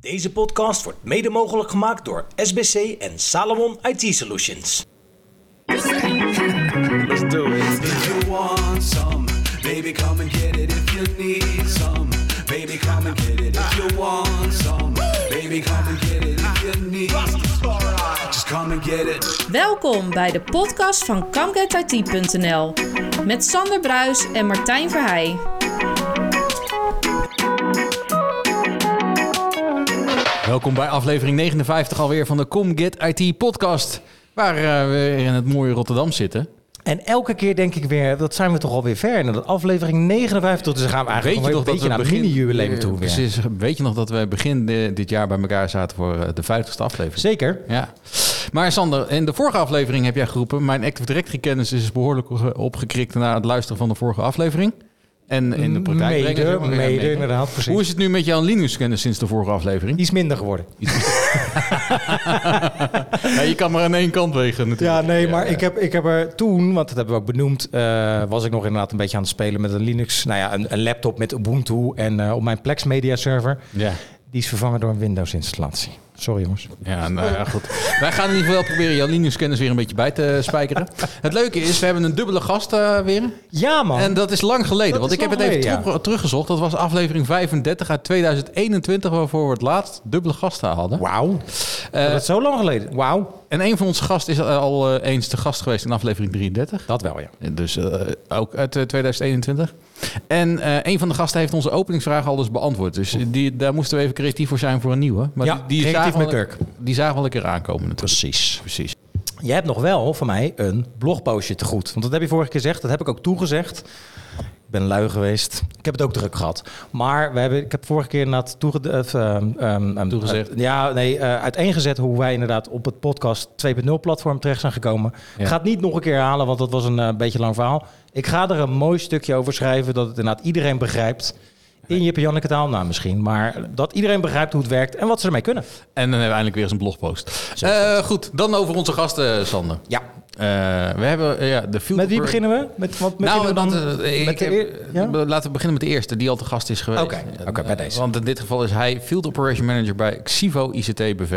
Deze podcast wordt mede mogelijk gemaakt door SBC en Salomon IT Solutions. Let's do it. If you want some, baby, come and get it. If you need some, baby, come and get it. If you want some, baby, come and get it. If you need, just come and get it. Welkom bij de podcast van ComeGetIT.nl met Sander Bruis en Martijn Verheij. Welkom bij aflevering 59 alweer van de Come Get IT podcast. Waar eh, we in het mooie Rotterdam zitten. En elke keer denk ik weer, dat zijn we toch alweer ver. En dat aflevering 59, dus dan gaan we eigenlijk nog een beetje naar het mini-jubileum toe. eh, weer. Precies, weet je nog dat we begin eh, dit jaar bij elkaar zaten voor eh, de 50ste aflevering? Zeker. Ja. Maar Sander, in de vorige aflevering heb jij geroepen... mijn Active Directory kennis is behoorlijk opge- opgekrikt... na het luisteren van de vorige aflevering. En in de praktijk Mede, brengen, zeg maar. Ja, mede, inderdaad, precies. Hoe is het nu met jouw Linux kennis sinds de vorige aflevering? Iets minder geworden. Ja, je kan maar aan één kant wegen natuurlijk. Ja, nee, maar ja. Ik, heb, ik heb er toen, want dat hebben we ook benoemd, eh, was ik nog inderdaad een beetje aan het spelen met een Linux. Nou ja, een, een laptop met Ubuntu en eh, op mijn Plex Media Server. Ja. Die is vervangen door een Windows installatie. Sorry jongens. Ja, nou ja, goed. Wij gaan in ieder geval proberen jouw Linux-kennis weer een beetje bij te spijkeren. Het leuke is, we hebben een dubbele gast eh, weer. Ja man. En dat is lang geleden, Oh. Dat want is ik heb het lang even geleden, terug- teruggezocht. Dat was aflevering 35 uit 2021, waarvoor we het laatst dubbele gasten hadden. Wauw. Eh, dat is zo lang geleden. Wauw. En een van onze gasten is al eh, eens de gast geweest in aflevering 33. Dat wel ja. Dus eh, ook uit eh, 2021. En eh, een van de gasten heeft onze openingsvraag al dus beantwoord. Dus eh, die, daar moesten we even creatief voor zijn voor een nieuwe. Maar Ja, die, die creatief zagen met wel- Dirk. Die zagen wel een keer aankomen natuurlijk. Precies. Precies. Jij hebt nog wel van mij een blogpostje te goed. Want dat heb je vorige keer gezegd, dat heb ik ook toegezegd. Ik ben lui geweest. Ik heb het ook druk gehad. Maar we hebben, ik heb vorige keer inderdaad toege, of, ehm, ehm, ehm, Toegezegd. eh, ja, nee, eh, uiteengezet hoe wij inderdaad op het podcast 2.0 platform terecht zijn gekomen. Ja. Ik ga het niet nog een keer halen, want dat was een eh, beetje lang verhaal. Ik ga er een mooi stukje over schrijven, dat het inderdaad iedereen begrijpt. In Jip en Janneke taal, nou misschien. Maar dat iedereen begrijpt hoe het werkt en wat ze ermee kunnen. En dan hebben we eindelijk weer eens een blogpost. is Eh, goed, dan over onze gasten, Sander. Ja. Eh, we hebben eh, ja, de field Met wie oper- beginnen we? Met, wat beginnen Nou, we dan? dat, eh, ik met de heb- eer- ja? laten we beginnen met de eerste, die al te gast is geweest. eh, Oké, oké, bij deze. Want in dit geval is hij Field Operation Manager bij Xivo ICT BV.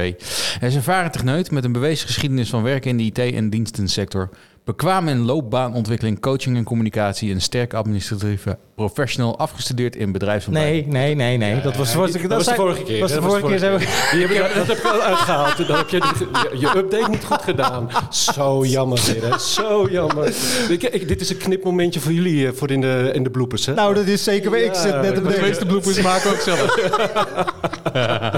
Hij is een ervaren techneut met een bewezen geschiedenis van werken in de IT- en dienstensector. Bekwaam in loopbaanontwikkeling, coaching en communicatie. Een sterk administratieve professional, afgestudeerd in bedrijfsopleiding. Nee, nee, nee, nee. Dat was, was, dat was de zei- vorige keer. was de Dat was vorige keer. zei we- Die heb ik, dat heb ik wel uitgehaald. Dan heb je, dit- je, je update niet goed gedaan. Zo jammer, dit, hè. Zo jammer. Ik, ik- dit is een knipmomentje voor jullie, eh, voor in de, in de bloepers, hè? Nou, dat is zeker. Ik zit net op De deze. meeste bloepers maken ook zelf.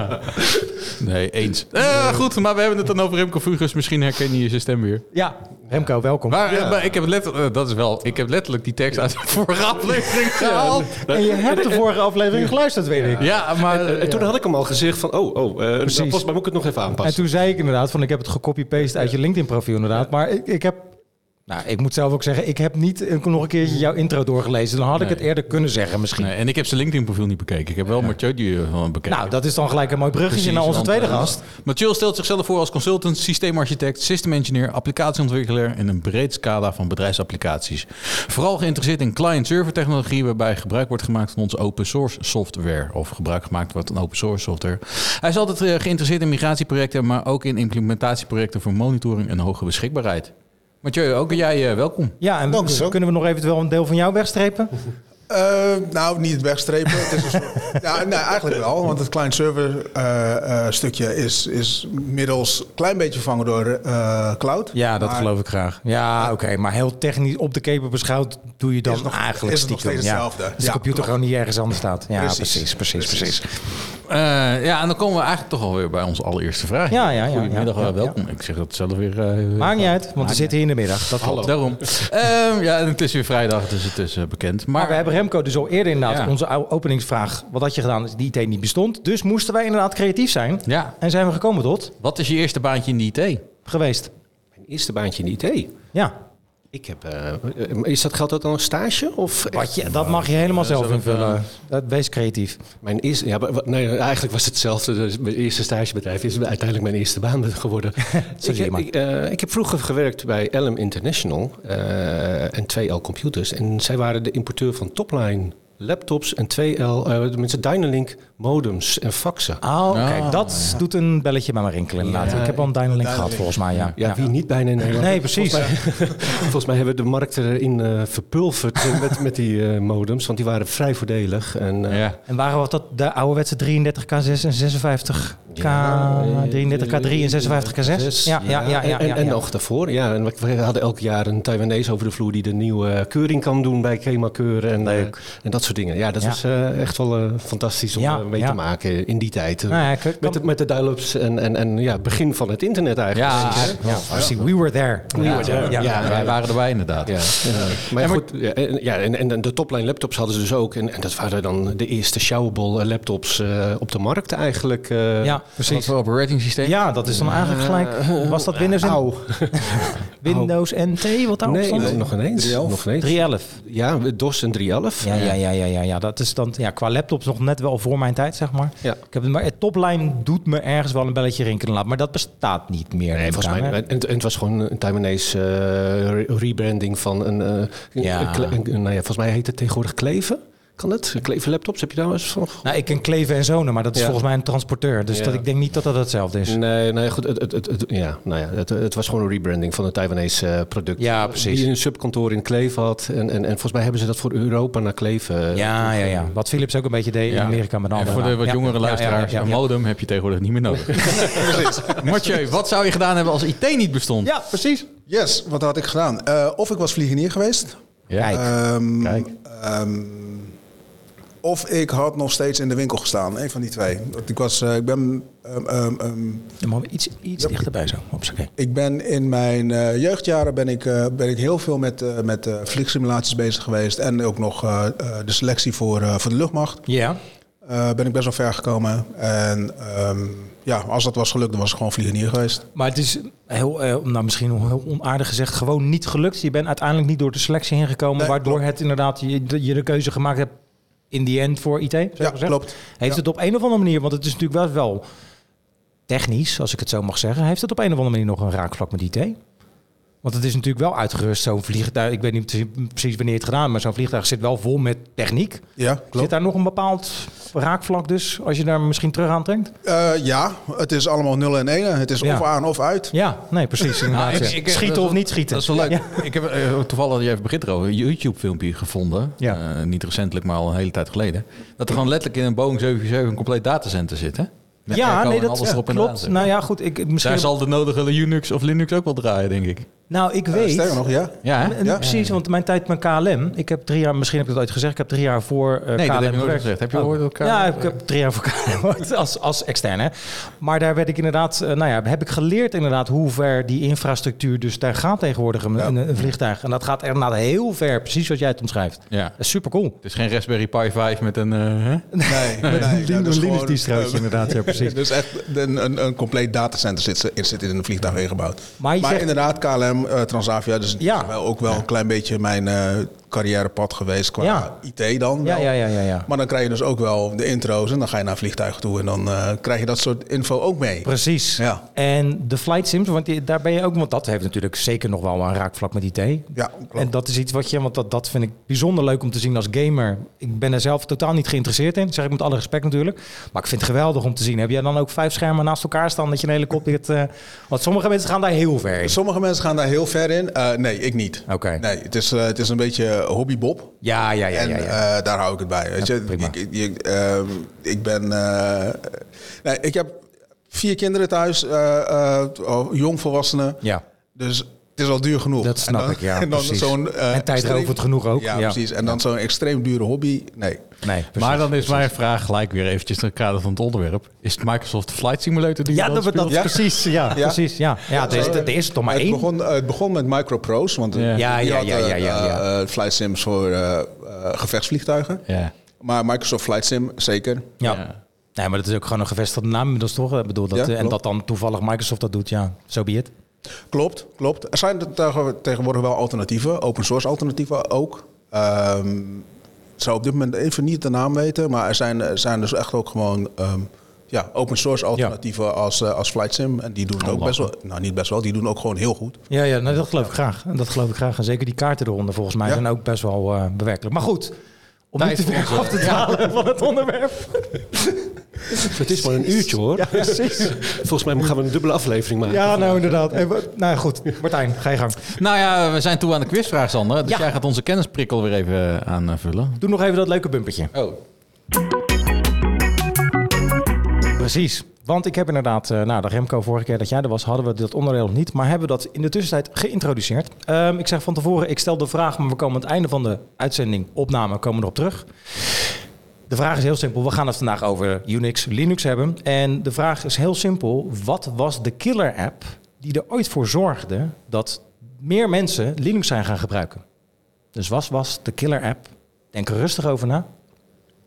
nee, eens. Eh, goed, maar we hebben het dan over Remco Fugus. Misschien herken je zijn stem weer. Ja, Remco, welkom. Maar, eh, maar ik, heb letterlijk, eh, dat is wel, ik heb letterlijk die tekst uit de vorige aflevering gehaald. En je hebt de vorige aflevering geluisterd, weet ik. Ja, maar... En, en toen had ik hem al gezegd van, oh, oh, eh, nou, volgens mij moet ik het nog even En aanpassen. toen zei ik inderdaad van, ik heb het gecopy-paste uit je LinkedIn-profiel inderdaad. Maar ik, ik heb... Nou, ik moet zelf ook zeggen, ik heb niet eh, nog een keertje jouw intro doorgelezen. Dan had ik Nee. het eerder kunnen zeggen misschien. nee, en ik heb zijn LinkedIn-profiel niet bekeken. Ik heb wel Mathieu die eh, wel bekeken. Nou, dat is dan gelijk een mooi bruggetje Precies, naar onze want, tweede eh, gast. Mathieu stelt zichzelf voor als consultant, systeemarchitect, system engineer, applicatieontwikkelaar in een breed scala van bedrijfsapplicaties. Vooral geïnteresseerd in client-server technologie, waarbij gebruik wordt gemaakt van onze open source software. Of gebruik gemaakt wordt van open source software. Hij is altijd eh, geïnteresseerd in migratieprojecten, maar ook in implementatieprojecten voor monitoring en hoge beschikbaarheid. Mathieu, ook jij eh, welkom. Ja, en Dank je wel. kunnen we nog eventueel een deel van jou wegstrepen? Eh, nou, niet het wegstrepen. het is een soort, ja, nee, eigenlijk wel, want het client-server eh, eh, stukje is, is middels een klein beetje vervangen door eh, cloud. Ja, dat Maar geloof ik graag. Ja, Ah, oké. maar heel technisch op de keper beschouwd doe je dan Is het nog- eigenlijk is het nog stiekem. steeds ja. hetzelfde? Als de Ja, computer klopt. gewoon niet ergens anders staat. Ja, Precies. precies, precies, precies. Precies. Eh, ja, en dan komen we eigenlijk toch alweer bij onze allereerste vraag. Ja, ja, ja, Goedemiddag, ja, eh, ja. welkom. Ik zeg dat zelf weer. eh, Maakt niet uit, Nou, want we zitten hier in de middag. Dat klopt. Daarom. Ehm, ja, en het is weer vrijdag, dus het is eh, bekend. Maar, Maar we hebben Remco dus al eerder inderdaad Ja. onze ou- openingsvraag. Wat had je gedaan die IT niet bestond? Dus moesten wij inderdaad creatief zijn. ja, En zijn we gekomen tot wat is je eerste baantje in de IT? geweest. Mijn eerste baantje in de IT. Ja, Ik heb, eh, eh, is dat, geldt dat dan een stage? Of wat je, dat mag je helemaal zelf invullen. Dat, wees creatief. Mijn eerste, ja, wa- wa- nee, eigenlijk was het hetzelfde. Dus mijn eerste stagebedrijf is uiteindelijk mijn eerste baan geworden. ik, heb, maar. ik, eh, ik heb vroeger gewerkt bij LM International eh, en 2L Computers. En zij waren de importeur van Topline laptops en 2L, eh tenminste Dynalink modems en faxen. Oh, kijk, dat doet een belletje bij me rinkelen inderdaad. ik heb al een Dynalink gehad volgens mij, ja. Ja, wie niet bijna in Nederland. Nee, precies. Volgens mij, volgens mij hebben we de markt erin eh, verpulverd eh, met, met die eh, modems, want die waren vrij voordelig. En, eh, Ja. En waren wat dat de ouderwetse 33K6 en eh, 56K, 33K3 en 56K6? Ja, ja, ja. ja, ja, eh, en, en ja. nog daarvoor, ja. En we we hadden elk jaar een Taiwanese over de vloer die de nieuwe keuring kan doen bij Kemakeur en, eh, en dat soort dingen. Ja, dat Ja. was eh, echt wel eh, fantastisch om Ja, eh, mee ja. te maken in die tijd. Nou ja, kijk, met, de, met de dial-ups en, en, en ja, begin van het internet eigenlijk. Ja, Precies, hè? Ja, precies. We were there. We were there. Ja, ja. wij waren erbij inderdaad. Ja, ja. maar ja, goed, ja, en, ja, en, en de topline laptops hadden ze dus ook. En, en dat waren dan de eerste showable eh, laptops eh, op de markt eigenlijk. eh. Ja, Precies. precies. Wat voor operating systeem? Ja, dat is dan eigenlijk gelijk. Was dat Windows en eh, Au. Windows NT? Wat daarop Nee, stond? nog ineens. 311. Nog ineens. 311. Ja, DOS en 311. Ja, ja, ja, ja, ja, ja. Dat is dan ja, qua laptops nog net wel voor mijn tijd, zeg maar. Ja. Ik heb het, maar het topline doet me ergens wel een belletje rinkelen laten, maar dat bestaat niet meer. Nee, neem ik volgens aan, mij. hè? En, en het was gewoon een Taiwanese eh, re- rebranding van een, eh, een- Ja. een kle- een- nou ja, volgens mij heet het tegenwoordig Kleven. Kan dat? Kleven laptops, heb je daar wel eens van? ge- Nou, ik ken Kleven en Zonen, maar dat is Ja. volgens mij een transporteur. Dus Ja. dat, ik denk niet dat dat hetzelfde is. Nee, nee, goed. Het, het, het, het- ja, nou ja, het, het was gewoon een rebranding van een Taiwanese eh, product. Ja, precies. Die een subkantoor in Kleven had. En, en, en volgens mij hebben ze dat voor Europa naar Kleven. eh, Ja, ja, ja. Wat Philips ook een beetje deed in Amerika met een En andere voor de naam. wat Ja, jongere ja, ja, luisteraars, ja, ja, een ja. modem heb je tegenwoordig niet meer nodig. Mathieu, wat zou je gedaan hebben als IT niet bestond? Ja, precies. Yes, wat had ik gedaan? Eh, of ik was vliegenier geweest. Kijk. Ehm, Kijk. ehm, of ik had nog steeds in de winkel gestaan. Een van die twee. Want Ik, was, eh, ik, ben, ehm, ehm, ehm, Dan mogen we iets, iets dichterbij zo. Ops, oké. ik ben in mijn eh, jeugdjaren ben ik, eh, ben ik heel veel met, eh, met eh, vliegsimulaties bezig geweest. En ook nog eh, eh, de selectie voor, eh, voor de luchtmacht. Ja. Eh, ben ik best wel ver gekomen. En ehm, ja, als dat was gelukt, dan was ik gewoon vliegenier geweest. Maar het is heel, eh, nou misschien heel onaardig gezegd, gewoon niet gelukt. Je bent uiteindelijk niet door de selectie heen gekomen, Nee, waardoor het inderdaad je, de- je de keuze gemaakt hebt in die end voor IT. zo Ja, gezegd. klopt. Heeft het op een of andere manier, want het is natuurlijk wel, wel technisch, als ik het zo mag zeggen, heeft het op een of andere manier nog een raakvlak met IT? Want het is natuurlijk wel uitgerust, zo'n vliegtuig. Ik weet niet pre- precies wanneer het gedaan, maar zo'n vliegtuig zit wel vol met techniek. Ja, klopt. Zit daar nog een bepaald raakvlak dus, als je daar misschien terug aan denkt? Eh, ja, het is allemaal nullen en enen. Het is Ja. of aan of uit. Ja, nee, precies. inderdaad, ik- ja. ik- schieten dat- of niet schieten. Dat is wel leuk. Ik heb eh, toevallig, je even begint erover, een YouTube-filmpje gevonden. Ja. Eh, niet recentelijk, maar al een hele tijd geleden. Dat er gewoon letterlijk in een Boeing 747 een compleet datacenter zit, hè? Met ja, airco nee, en dat alles ja, erop en eraan, klopt. zeg. Nou ja, goed. Ik, misschien, Daar zal de nodige Unix of Linux ook wel draaien, denk ik. nou, ik Eh, weet. sterker nog, ja. Ja, hè? En- en Ja. Precies, want mijn tijd met KLM. Ik heb drie jaar, misschien heb ik dat ooit gezegd. Ik heb drie jaar voor eh, Nee, dat KLM heb je nooit gewerkt. Oh. gezegd. Heb je ooit dat KLM? Ja, ik heb drie jaar voor KLM gewerkt, als, als externe. Maar daar werd ik inderdaad, eh, nou ja, heb ik geleerd inderdaad hoe ver die infrastructuur dus daar gaat tegenwoordig een, een, een vliegtuig. En dat gaat inderdaad heel ver, precies wat jij het omschrijft. Ja. Dat is super cool. Het is geen Raspberry Pi 5 met een... eh, hè? Nee, nee, nee, dat is gewoon- inderdaad, ja precies. Dus echt een, een, een compleet datacenter zit, ze- zit in een vliegtuig ingebouwd. Maar Maar, je zegt- inderdaad, KLM, eh, Transavia, dus het Ja. is wel ook wel een klein beetje mijn eh, carrièrepad geweest qua Ja. IT dan. Ja, wel. ja, ja, ja, ja. Maar dan krijg je dus ook wel de intro's en dan ga je naar vliegtuigen toe en dan eh, krijg je dat soort info ook mee. Precies. Ja. En de flight sims, want die- daar ben je ook, want dat heeft natuurlijk zeker nog wel een raakvlak met IT. Ja, klopt. En dat is iets wat je, want dat, dat vind ik bijzonder leuk om te zien als gamer. Ik ben er zelf totaal niet geïnteresseerd in, zeg ik met alle respect natuurlijk. Maar ik vind het geweldig om te zien. Heb jij dan ook vijf schermen naast elkaar staan dat je een hele kop dit, eh, want sommige mensen gaan daar heel ver in. Sommige mensen gaan daar heel ver in. Eh, nee, ik niet. Oké. Nee, het is, eh, het is een beetje hobbybob. Ja, ja, ja, En ja. ja. eh, daar hou ik het bij. Weet Ja, je? prima. Ik, ik, ik, ehm, ik ben. eh, nee, ik heb vier kinderen thuis, eh, eh, oh, jongvolwassenen. ja. Dus het is al duur genoeg. Dat En snap dan- ik, ja, En dan precies. zo'n. eh, En tijdrovend extreem- genoeg ook, Ja, ja. precies. En dan zo'n extreem dure hobby. Nee. Nee, dus precies. maar dan is mijn vraag gelijk weer eventjes in het kader van het onderwerp. Is het Microsoft Flight Simulator die ja, je dat, dan dat speelt? precies. Ja, precies. Ja, ja, er is, er is toch maar het, één. begon, eh, het begon met Microprose. Want eh, Ja, die ja, had, ja, eh, ja, ja, ja. eh, flight sims voor eh, eh, gevechtsvliegtuigen. Ja. Maar Microsoft Flight Sim, zeker. Ja. Ja. Nee, maar dat is ook gewoon een gevestigde naam inmiddels toch? Ik bedoel, dat, Ja, eh, en klopt. dat dan toevallig Microsoft dat doet, ja, zo be it. Klopt, klopt. Er zijn er tege- tegenwoordig wel alternatieven, open source alternatieven ook. Ehm ik zou op dit moment even niet de naam weten, maar er zijn, er zijn dus echt ook gewoon ehm, ja, open source alternatieven als, eh, als Flight Sim. En die doen het ook best wel, nou niet best wel, die doen ook gewoon heel goed. Ja, ja nou, dat geloof ik graag. En Dat geloof ik graag. En zeker die kaarten eronder volgens mij Ja. zijn ook best wel eh, bewerkelijk. Maar goed, Om Tijd niet te voor ver onze- af te dwalen van het onderwerp. dus Het is maar een uurtje hoor. Ja, precies. Volgens mij gaan we een dubbele aflevering maken. Ja, nou inderdaad. En we- nou ja, goed. Martijn, ga je gang. Nou ja, we zijn toe aan de quizvraag, Sander. Dus Ja. jij gaat onze kennisprikkel weer even eh, aanvullen. Doe nog even dat leuke bumpertje. Oh. Precies. Want ik heb inderdaad, eh, nou de Remco vorige keer dat jij er was, hadden we dat onderdeel nog niet. Maar hebben we dat in de tussentijd geïntroduceerd. Ehm, ik zeg van tevoren, ik stel de vraag, maar we komen aan het einde van de uitzending, opname, komen we erop terug. De vraag is heel simpel. We gaan het vandaag over Unix, Linux hebben. En de vraag is heel simpel. Wat was de killer app die er ooit voor zorgde dat meer mensen Linux zijn gaan gebruiken? Dus wat was de killer app? Denk er rustig over na.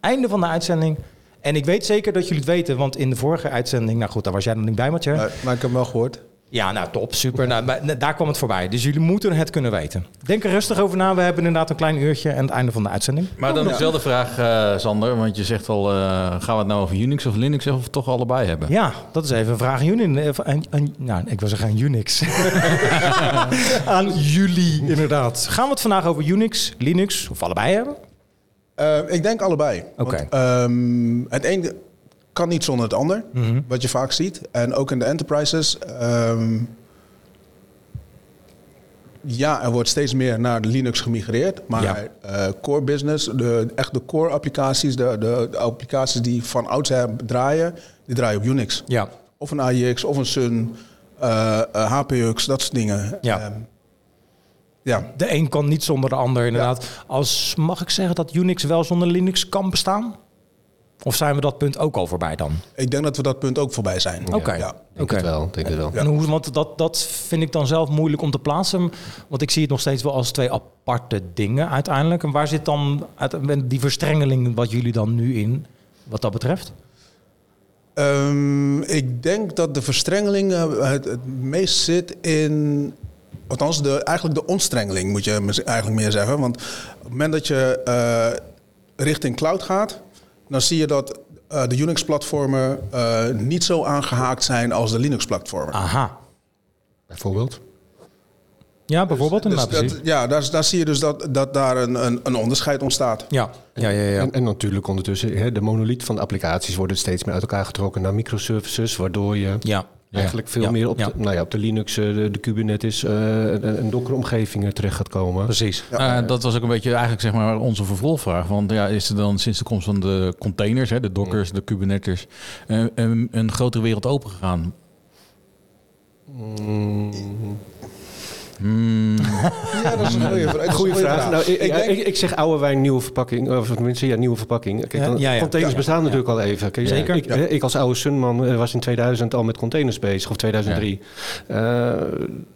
Einde van de uitzending. En ik weet zeker dat jullie het weten, want in de vorige uitzending, nou goed, daar was jij nog niet bij, Mathieu. Maar, maar ik heb hem wel gehoord. Ja, nou top, super. Nou, maar daar kwam het voorbij. Dus jullie moeten het kunnen weten. Denk er rustig over na. We hebben inderdaad een klein uurtje aan het einde van de uitzending. Maar dan dezelfde vraag, eh, Sander. Want je zegt al, eh, gaan we het nou over Unix of Linux of we toch allebei hebben? Ja, dat is even een vraag aan jullie. Of aan- aan- nou, ik wil zeggen aan Unix. aan jullie, inderdaad. Gaan we het vandaag over Unix, Linux of allebei hebben? Eh, ik denk allebei. Oké. Want, ehm, het een kan niet zonder het ander, Mhm. wat je vaak ziet. En ook in de enterprises. ehm, ja, er wordt steeds meer naar Linux gemigreerd. Maar Ja. eh, core business, de, echt de core applicaties, de, de, de applicaties die van oudsher draaien, die draaien op Unix. Ja. Of een AIX, of een Sun, eh, eh, HPUX, dat soort dingen. Ja. Ehm, ja. De een kan niet zonder de ander, inderdaad. Als, mag ik zeggen dat Unix wel zonder Linux kan bestaan? Of zijn we dat punt ook al voorbij dan? Ik denk dat we dat punt ook voorbij zijn. Oké. Ja. Denk het wel, denk het wel. En hoe, want dat, dat vind ik dan zelf moeilijk om te plaatsen. Want ik zie het nog steeds wel als twee aparte dingen uiteindelijk. En waar zit dan uit- die verstrengeling wat jullie dan nu in, wat dat betreft? Ehm, ik denk dat de verstrengeling eh, het, het meest zit in. Althans, de, eigenlijk de ontstrengeling moet je mis- eigenlijk meer zeggen. Want op het moment dat je eh, richting cloud gaat, dan zie je dat eh, de Unix-platformen eh, niet zo aangehaakt zijn als de Linux-platformen. Aha. Bijvoorbeeld. Ja, bijvoorbeeld Dus inderdaad. dat, nou, precies. ja, daar, daar zie je dus dat, dat daar een, een, een onderscheid ontstaat. ja. Ja, ja, ja. En, en natuurlijk ondertussen, hè, de monolith van de applicaties worden steeds meer uit elkaar getrokken naar microservices, waardoor je ja. eigenlijk veel Ja, meer op, ja. de, nou ja, op de Linux, eh, de, de Kubernetes eh, en, en Docker-omgevingen terecht gaat komen. Precies. Eh, dat was ook een beetje eigenlijk zeg maar onze vervolgvraag. Want ja, is er dan sinds de komst van de containers, hè, de Mm. dockers, de kubernetes, eh, een, een grotere wereld opengegaan? Ja, dat is een goede vraag. Goeie vraag. Nou, ik, ik, ja, denk, ik, ik zeg oude wijn, nieuwe verpakking. Of tenminste, ja, nieuwe verpakking. Kijk, dan, Ja, ja. Containers Ja. bestaan natuurlijk al even. Kijk, Zeker. Ik, hè, ik als oude Sunman eh, was in 2000 al met containers bezig, of 2003. Eh,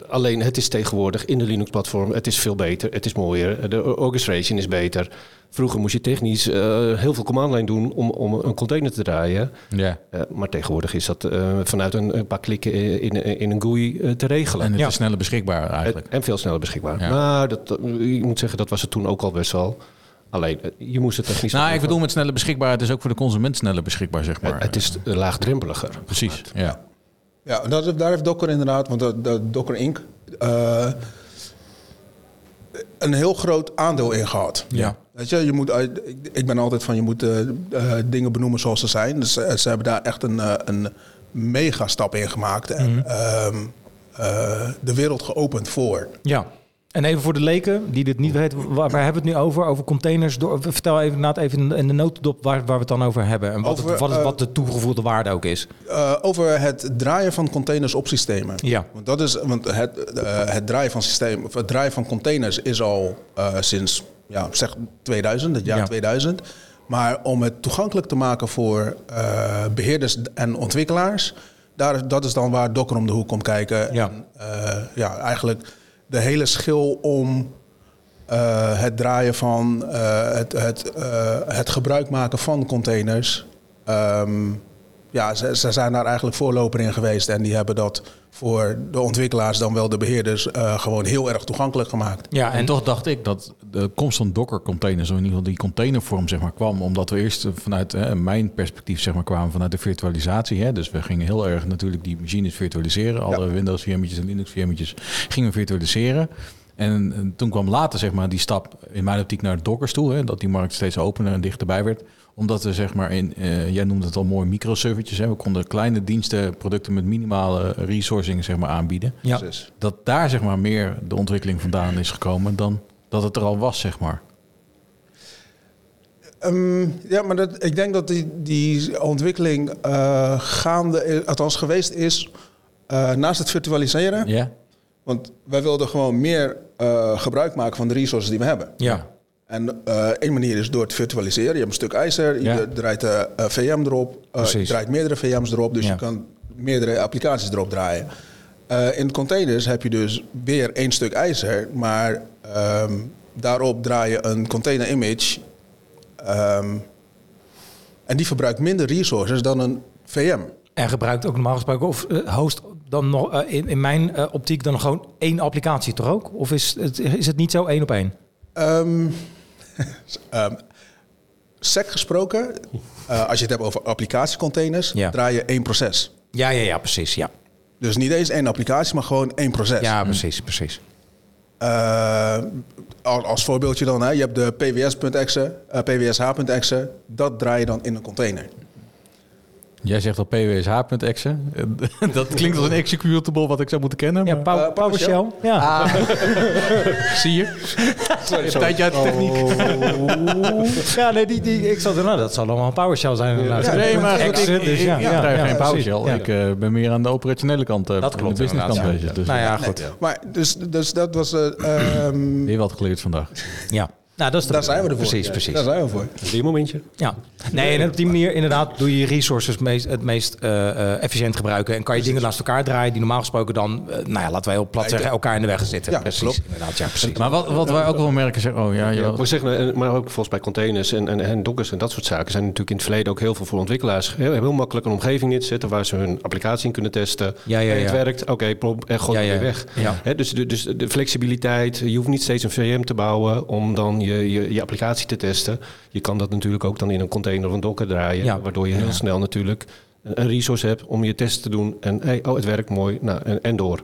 alleen, het is tegenwoordig in de Linux-platform, het is veel beter, het is mooier. eh, De or- orchestration is beter. Vroeger moest je technisch eh, heel veel command-line doen om, om een container te draaien. Ja. Eh, maar tegenwoordig is dat eh, vanuit een, een paar klikken in, in, in een GUI eh, te regelen. En het Ja. is sneller beschikbaar eigenlijk. En veel sneller beschikbaar. Ja. Maar dat, dat- ik moet zeggen, dat was het toen ook al best wel. Alleen, eh, je moest het technisch... nou, ik bedoel met sneller beschikbaar, het is ook voor de consument sneller beschikbaar, zeg maar. Het, het is eh, laagdrempeliger. Precies, ja. Ja, dat, daar heeft Docker inderdaad, want dat- dat Docker Inc. eh, een heel groot aandeel in gehad. Ja. Weet je, je moet, uit- ik- ik ben altijd van je moet eh, eh, dingen benoemen zoals ze zijn. Dus eh, ze hebben daar echt een, eh, een mega stap in gemaakt en ehm, eh, de wereld geopend voor. Ja. En even voor de leken die dit niet weten, waar, waar hebben we het nu over? Over containers. Door, vertel even, na het even in de- in de notendop waar, waar we het dan over hebben. En wat, het, Over, wat, het- eh, wat de toegevoegde waarde ook is. Eh, over het draaien van containers op systemen. Ja. Want, dat is, want het, eh, het, draaien van systeem, of het draaien van containers is al eh, sinds ja, zeg 2000, het jaar Ja. 2000. Maar om het toegankelijk te maken voor eh, beheerders en ontwikkelaars, daar, dat is dan waar Docker om de hoek komt kijken. Ja. En, eh, ja, eigenlijk de hele schil om eh, het draaien van eh, het, het, eh, het gebruik maken van containers. ehm, ja, ze, ze zijn daar eigenlijk voorloper in geweest. En die hebben dat voor de ontwikkelaars, dan wel de beheerders, eh, gewoon heel erg toegankelijk gemaakt. Ja, En, toch dacht ik dat de komst van Docker-containers, of in ieder geval die containervorm, zeg maar, kwam. Omdat we eerst eh, vanuit hè, mijn perspectief, zeg maar, kwamen vanuit de virtualisatie. Hè. Dus we gingen heel erg natuurlijk die machines virtualiseren. Alle Windows-VM'tjes en Linux-VM'tjes gingen we virtualiseren. En, eh, toen kwam later zeg maar, die stap in mijn optiek naar dockers toe. Hè, dat die markt steeds opener en dichterbij werd. Omdat er zeg maar in, eh, jij noemde het al mooi, microservices. Hè, we konden kleine diensten, producten met minimale resourcing zeg maar, aanbieden. Ja. Precies. Dat daar zeg maar, meer de ontwikkeling vandaan is gekomen dan dat het er al was. Zeg maar. Ehm, ja, maar dat, ik denk dat die, die ontwikkeling eh, gaande, is- althans geweest is, eh, naast het virtualiseren. Ja? Want wij wilden gewoon meer eh, gebruik maken van de resources die we hebben. Ja. En eh één manier is door te virtualiseren. Je hebt een stuk ijzer, je Ja. dra- draait de VM erop, eh, je Precies. draait meerdere VM's erop, dus Ja. je kan meerdere applicaties erop draaien. Eh, in containers heb je dus weer één stuk ijzer, maar ehm, daarop draai je een container image. ehm, en die verbruikt minder resources dan een VM. En gebruikt ook normaal gesproken of eh, host dan nog eh, in, in mijn eh, optiek dan gewoon één applicatie toch ook? Of is het, is het niet zo één op één? Ehm ehm, sec gesproken, eh, als je het hebt over applicatiecontainers, Ja. draai je één proces. Ja, ja, ja, precies. Ja, Dus niet eens één applicatie, maar gewoon één proces. ja precies, precies. Eh, als, als voorbeeldje dan, hè, je hebt de pws.exe, eh, pwsh.exe. E, Dat draai je dan in een container. Jij zegt al pwsh.exe. dat klinkt als een executable wat ik zou moeten kennen. Ja, maar- Pow- Eh, PowerShell? PowerShell. Ja. Zie je? Een tijdje uit de techniek. ja, nee, die, die, ik zat er, nou, dat zal allemaal een PowerShell zijn. inderdaad. Nee, maar Oh. Exe, ik, ik, dus ja, ik ja, draai ja, geen precies. PowerShell. Ja. Ik eh, ben meer aan de operationele kant, eh, Dat aan klopt de business kant inderdaad, ja. bezig. Dus Nou ja, Nee, goed. Maar dus, dus dat was... eh, ehm, weer wat geleerd vandaag. Ja. Nou, dat is de daar zijn we ervoor. Precies, Ja, precies. Oh, Daar zijn we voor. Die momentje. Ja. Nee, en op die manier inderdaad doe je je resources meest, het meest eh, eh, efficiënt gebruiken. En kan je dingen naast elkaar draaien die normaal gesproken dan, eh, nou ja, laten wij heel plat zeggen, elkaar in de weg zitten. Ja, precies. klopt. Inderdaad, ja, precies. Maar wat, wat wij ook wel merken, zeg, oh ja, Ja, ja. maar, ik zeg, maar, en- maar ook volgens bij containers en, en, en dockers en dat soort zaken zijn natuurlijk in het verleden ook heel veel voor ontwikkelaars heel, heel makkelijk een omgeving inzetten waar ze hun applicatie in kunnen testen. Ja, ja, Hey, het ja. werkt, oké, plop, en gooi Ja, het ja. weer weg. Ja. Hè, dus, de, dus de flexibiliteit, je hoeft niet steeds een VM te bouwen om dan je, je, je applicatie te testen. Je kan dat natuurlijk ook dan in een container of een docker draaien, Ja. waardoor je heel Ja. snel natuurlijk een een resource hebt om je test te doen en hey, oh, het werkt mooi, nou, en, en door.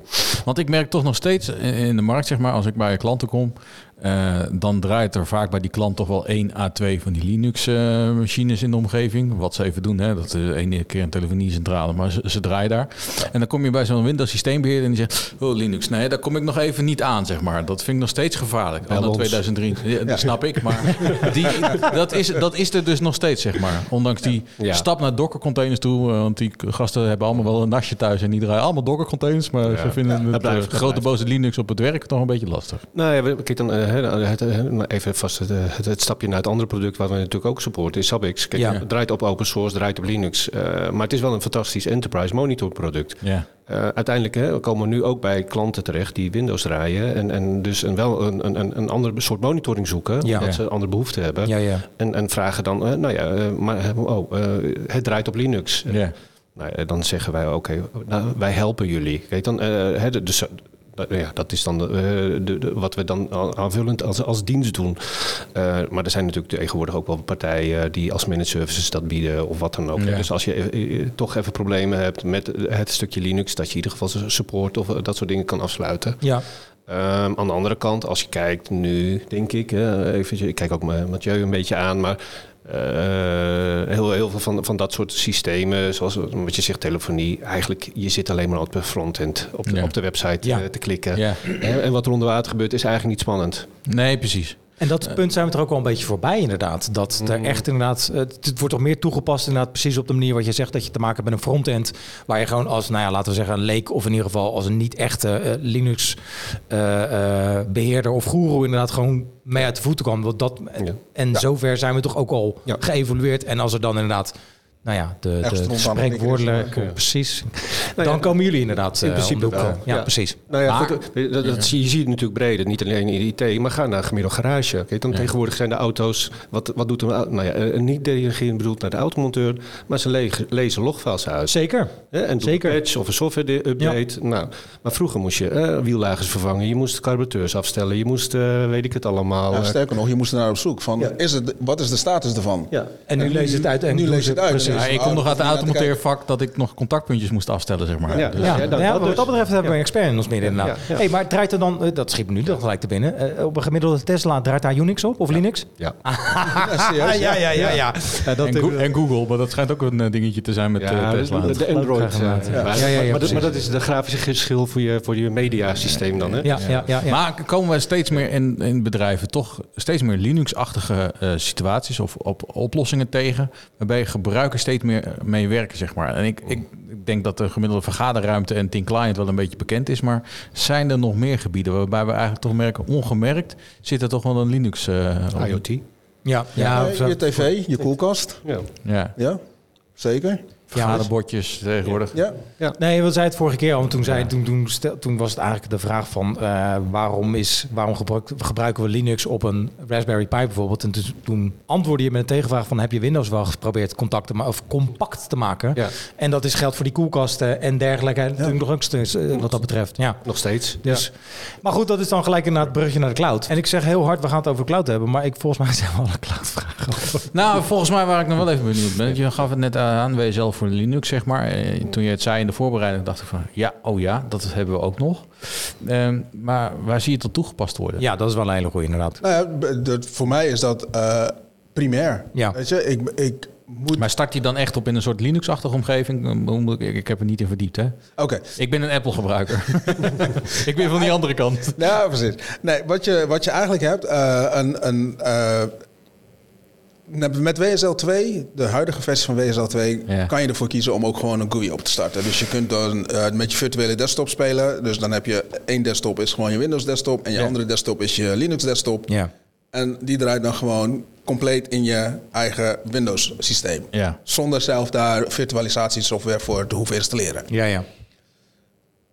Want ik merk toch nog steeds in- in de markt, zeg maar, als ik bij klanten kom, eh, dan draait er vaak bij die klant toch wel 1 à 2 van die Linux-machines in de omgeving. Wat ze even doen, hè, dat is één keer een telefoniecentrale, maar ze, ze draaien daar. En dan kom je bij zo'n Windows-systeembeheerder en die zegt, oh Linux, nee, daar kom ik nog even niet aan, zeg maar. Dat vind ik nog steeds gevaarlijk. Anno ons. 2003, ja, dat snap ik, maar die, dat, is, dat is er dus nog steeds, zeg maar. Ondanks die Ja. stap naar Docker-containers toe, eh, want die gasten hebben allemaal wel een nasje thuis en die draaien allemaal Docker-containers, maar ze vinden het dat blijft- eh, grote boze Linux op het werk nog een beetje lastig. Nou ja, we- kijk dan eh, hè, het, eh, maar even vast het, eh, het, het stapje naar het andere product wat we natuurlijk ook supporten is Sabix. Kijk, Ja. het draait op open source, draait op Linux, eh, maar het is wel een fantastisch enterprise monitor product. Ja. Eh, uiteindelijk hè, komen we nu ook bij klanten terecht die Windows draaien en, en dus een, wel een, een- een, een ander soort monitoring zoeken, Ja. omdat Ja. ze een andere behoefte hebben. Ja, ja. En, en vragen dan, eh, nou ja, eh, maar eh, oh, eh, het draait op Linux. Ja. Nou, ja, dan zeggen wij, oké, nou, wij helpen jullie. Kijk, dan, eh, hè, de- dus, eh, ja, dat is dan de, eh, de, de- wat we dan a- aanvullend als, als dienst doen. Eh, maar er zijn natuurlijk tegenwoordig ook wel partijen die als managed services dat bieden of wat dan ook. Ja. Dus als je eh, eh, toch even problemen hebt met het stukje Linux, dat je in ieder geval support of eh, dat soort dingen kan afsluiten. Ja, Ehm, aan de andere kant, als je kijkt nu, denk ik, hè, eventjes, ik kijk ook Ma- Mathieu een beetje aan, maar eh, heel, heel veel van, van dat soort systemen, zoals wat je zegt, telefonie, eigenlijk je zit alleen maar op de frontend, op de, Ja. op de website Ja. eh, te klikken. Ja. En, en wat er onder water gebeurt, is eigenlijk niet spannend. Nee, precies. Dus en Eh, dat punt zijn we er ook wel een beetje voorbij inderdaad. Dat Mm. er echt inderdaad, eh, het, het wordt toch meer toegepast inderdaad precies op de manier wat je zegt. Dat je te maken hebt met een frontend waar je gewoon als, nou ja, laten we zeggen een leek of in ieder geval als een niet echte eh, Linux eh, eh, beheerder of guru inderdaad gewoon mee uit de voeten kwam. Want dat, eh, Ja. En zover zijn we toch ook al Ja. geëvolueerd. En als er dan inderdaad, nou ja, de, Ergens de stond aan het spreekwoordelijke, knikken. precies. Nou ja, dan komen jullie inderdaad in eh, om principe de hoek, wel. eh, Ja, Ja. precies. Nou ja, Maar- goed, eh, dat, dat zie, je ziet het natuurlijk breder. Niet alleen in de IT, maar ga naar een gemiddeld garage. Kijk, dan Tegenwoordig zijn de auto's... Wat, wat doet een auto? Nou ja, eh, een niet-delegerend bedoelt naar de automonteur... maar ze le- lezen logfiles uit. Zeker. Hè, en doe Zeker. een patch of een software update. Nou, maar vroeger moest je eh, wiellagers vervangen, je moest carburateurs afstellen, je moest, eh, weet ik het allemaal. Ja, eh, sterker nog, je moest er naar op zoek. Van, is het, wat is de status ervan? ja. En nu lees het uit. En nu doen lees ze- het uit. Precies. En Ja, ik kom nog uit het automonteervak dat ik nog contactpuntjes moest afstellen, zeg maar. Ja. Dus- Ja, ja, dat- ja, dat wat dus. dat betreft hebben we een expert in ons midden inderdaad. Ja, ja. Hey, maar draait er dan, eh, dat schiet me nu dan gelijk te binnen, eh, op een gemiddelde Tesla draait daar Unix op of Linux? Ja. Ah, Ja, ja, ja, ja. en, Go- en Google, maar dat schijnt ook een eh, dingetje te zijn met eh, Ja, Tesla. de, de Android. eh, Ja, ja, ja, maar- maar, dat, precies. maar dat is de grafische geschil voor je, voor je mediasysteem dan. Hè? Ja, ja, ja, ja. Maar komen we steeds meer in, in bedrijven toch steeds meer Linux-achtige eh, situaties of op, oplossingen tegen, waarbij gebruikers steeds meer eh, mee werken, zeg maar. En ik, ik, ik denk dat de gemiddelde vergaderruimte en Team Client wel een beetje bekend is, maar zijn er nog meer gebieden waarbij we eigenlijk toch merken, ongemerkt zit er toch wel een Linux eh, op? IoT. ja, ja, Ja, je tv, je koelkast. Ja. Ja, Ja, zeker. vergaderbordjes tegenwoordig. Ja. Nee, we zei het vorige keer al. want Toen, zei, toen, toen, stel- toen was het eigenlijk de vraag van eh, waarom, is, waarom gebruik- gebruiken we Linux op een Raspberry Pi bijvoorbeeld? En toen- toen antwoordde je met een tegenvraag van heb je Windows wel geprobeerd contact te ma- of compact te maken? Ja. En dat is geldt voor die koelkasten en dergelijke. En toen nog ook steeds, eh, wat dat betreft. Ja. Nog steeds. Dus, Maar goed, dat is dan gelijk inderdaad het brugje naar de cloud. En ik zeg heel hard, we gaan het over cloud hebben, maar ik, volgens mij zijn we alle cloudvragen over. Nou, volgens mij waar ik nog wel even benieuwd ben. Je gaf het net aan, WSL voor Linux, zeg maar. Eh, Toen je het zei in de voorbereiding, dacht ik van... ja, oh ja, dat hebben we ook nog. Ehm, maar waar zie je het dan toegepast worden? Ja, dat is wel een hele goede inderdaad. Nou ja, b- dat, voor mij is dat eh, primair. Ja. Weet je, ik, ik moet... Maar start die dan echt op in een soort Linux-achtige omgeving? Eh, hoe moet Ik ik heb er niet in verdiept, hè? Oké. Ik ben een Apple-gebruiker. ik ben van die andere kant. Ja, precies. Nee, wat je, wat je eigenlijk hebt, eh, een, een, eh, met WSL 2, de huidige versie van WSL 2, Ja. kan je ervoor kiezen om ook gewoon een GUI op te starten. Dus je kunt dan eh, met je virtuele desktop spelen. Dus dan heb je één desktop is gewoon je Windows desktop en je Ja. andere desktop is je Linux desktop. Ja. En die draait dan gewoon compleet in je eigen Windows systeem. Ja. Zonder zelf daar virtualisatiesoftware voor te hoeven installeren. Ja, ja.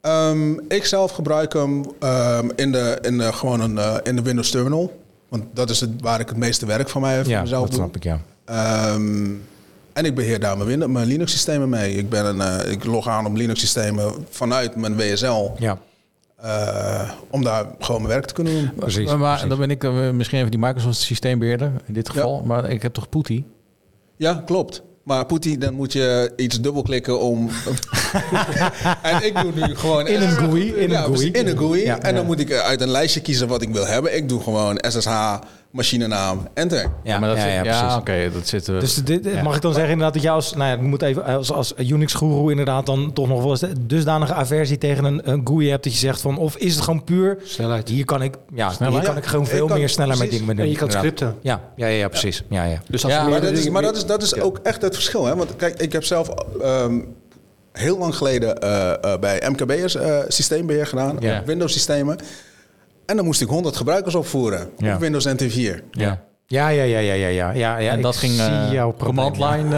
Ehm, ik zelf gebruik hem ehm, in, de, in, de, gewoon een, eh, in de Windows Terminal. Want dat is het, waar ik het meeste werk van mij Ja, van mezelf dat doe. snap ik, ja. Ehm, en ik beheer daar mijn, Win- mijn Linux systemen mee. Ik, ben een, eh, ik log aan op Linux systemen vanuit mijn WSL. Ja, eh, om daar gewoon mijn werk te kunnen doen. precies. maar precies. dan ben ik eh, misschien even die Microsoft-systeembeheerder in dit geval. Maar ik heb toch Pootie? Ja, klopt. Maar Poetie, dan moet je iets dubbelklikken om... en ik doe nu gewoon... In een GUI, in Ja, een GUI. precies, In een GUI. Ja, en dan ja. moet ik eh, uit een lijstje kiezen wat ik wil hebben. Ik doe gewoon SSH, machinenaam, enter. Ja, maar dat ja, zit- ja, ja, precies. oké, dat zit... eh, Dus dit, dit- mag ik dan zeggen inderdaad dat jij als, nou ja, ik moet even als, als Unix-guru inderdaad dan toch nog wel eens de- dusdanige aversie tegen een, een GUI hebt dat je zegt van, of is het gewoon puur Snelheid. Hier kan ik, ja, Snelheid. hier kan ik gewoon Ja, veel ik kan- meer sneller met precies. dingen mee doen. En je kan inderdaad. scripten. Ja, ja, ja, ja, precies. Ja, ja. Dus als Ja, er maar Maar meerdere dat is, dingen- maar dat is, dat is ook echt het verschil. Hè? Want kijk, ik heb zelf ehm, heel lang geleden eh, eh, bij MKB'ers eh, systeembeheer gedaan. Ja. op Windows systemen. En dan moest ik 100 gebruikers opvoeren Ja. op Windows NT4. ja. Ja, ja, ja, ja, ja, ja. ja, ja En ik dat ging zie eh, jouw probleem, command ja. line...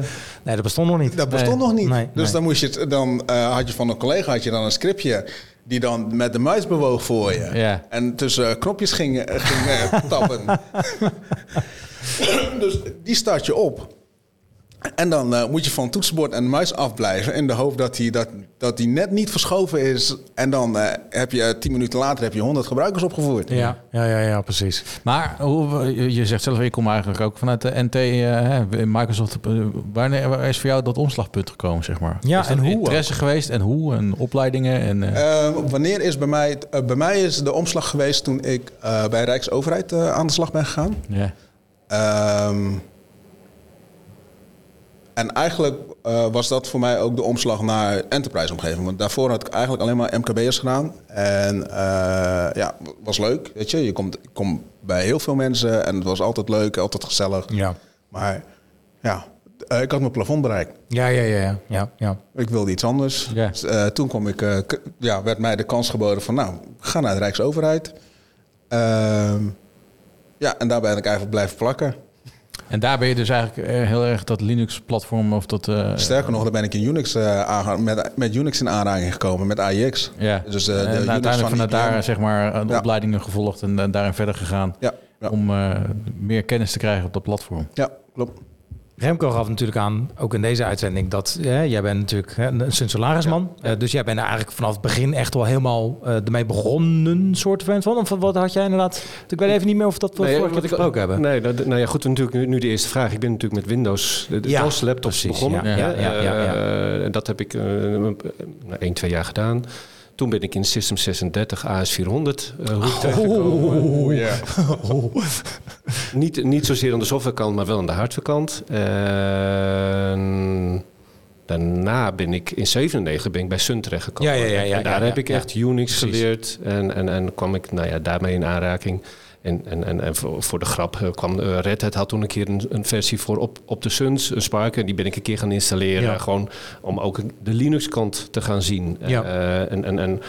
eh, Nee, dat bestond nog niet. Dat bestond Nee. nog niet. Nee, dus nee. dan, moest je het, dan eh, had je van een collega had je dan een scriptje die dan met de muis bewoog voor je. Ja. En tussen eh, knopjes ging, eh, ging eh, tappen. dus die start je op. En dan eh, moet je van toetsenbord en muis afblijven in de hoop dat die, dat, dat die net niet verschoven is. En dan eh, heb je tien minuten later heb je 100 gebruikers opgevoerd. Ja, ja, ja, ja, precies. Maar hoe, je- je zegt zelf, ik kom eigenlijk ook vanuit de NT, eh, hè, in Microsoft. eh, Wanneer waar is voor jou dat omslagpunt gekomen, zeg maar? Ja, is dat en hoe ook? Interesse geweest en hoe en opleidingen en... eh, Eh, wanneer is bij mij... het- eh, bij mij is de omslag geweest toen ik eh, bij Rijksoverheid eh, aan de slag ben gegaan. ja. Ehm, en eigenlijk eh, was dat voor mij ook de omslag naar enterprise-omgeving. Want daarvoor had ik eigenlijk alleen maar MKB'ers gedaan. En eh, ja, was leuk. Weet je, je komt, ik kom bij heel veel mensen en het was altijd leuk, altijd gezellig. Ja. Maar ja, eh, ik had mijn plafond bereikt. Ja, ja, ja, ja, ja, ja. Ik wilde iets anders. Ja. Dus, eh, toen kwam ik, eh, k- ja, werd mij de kans geboden van, nou, ga naar de Rijksoverheid. Ehm, ja, en daar ben ik eigenlijk blijven plakken. En daar ben je dus eigenlijk eh, heel erg dat Linux-platform of dat... eh, Sterker nog, dan ben ik in Unix, eh, aange- met, met Unix in aanraking gekomen, met AIX. ja. Dus eh, En de Unix uiteindelijk van vanuit IBM. daar zeg maar eh, de Ja. opleidingen gevolgd en, eh, daarin verder gegaan Ja, ja, om eh, meer kennis te krijgen op dat platform. ja, klopt. Remco gaf natuurlijk aan, ook in deze uitzending, dat hè, jij bent natuurlijk hè, een een salarisman. Eh, dus jij bent er eigenlijk vanaf het begin echt wel helemaal eh, ermee begonnen, soort van. Of wat had jij inderdaad? Ik weet even niet meer of dat we vorige keer besproken hebben. Nee, dat- nou ja, goed, natuurlijk nu, nu de eerste vraag. Ik ben natuurlijk met Windows, de, de Ja, DOS laptops precies, begonnen. ja, hè. ja, ja, ja, Eh, dat heb ik eh, een, één, twee jaar gedaan. Toen ben ik in System 36 AS400 eh hoe ik Oh. terechtgekomen. Niet, niet zozeer aan de softwarekant, maar wel aan de hardwarekant. En daarna ben ik in 97 ben ik bij Sun terechtgekomen. Ja, ja, ja, ja, en daar ja, ja, heb ik ja. echt Unix Precies. geleerd en, en, en kwam ik nou ja, daarmee in aanraking. En, en, en, en voor, voor de grap eh, kwam eh, Red Hat had toen een keer een, een versie voor op, op de Suns, een Spark. En die ben ik een keer gaan installeren. Ja. Gewoon om ook de Linux kant te gaan zien. Ja. Eh, en en, en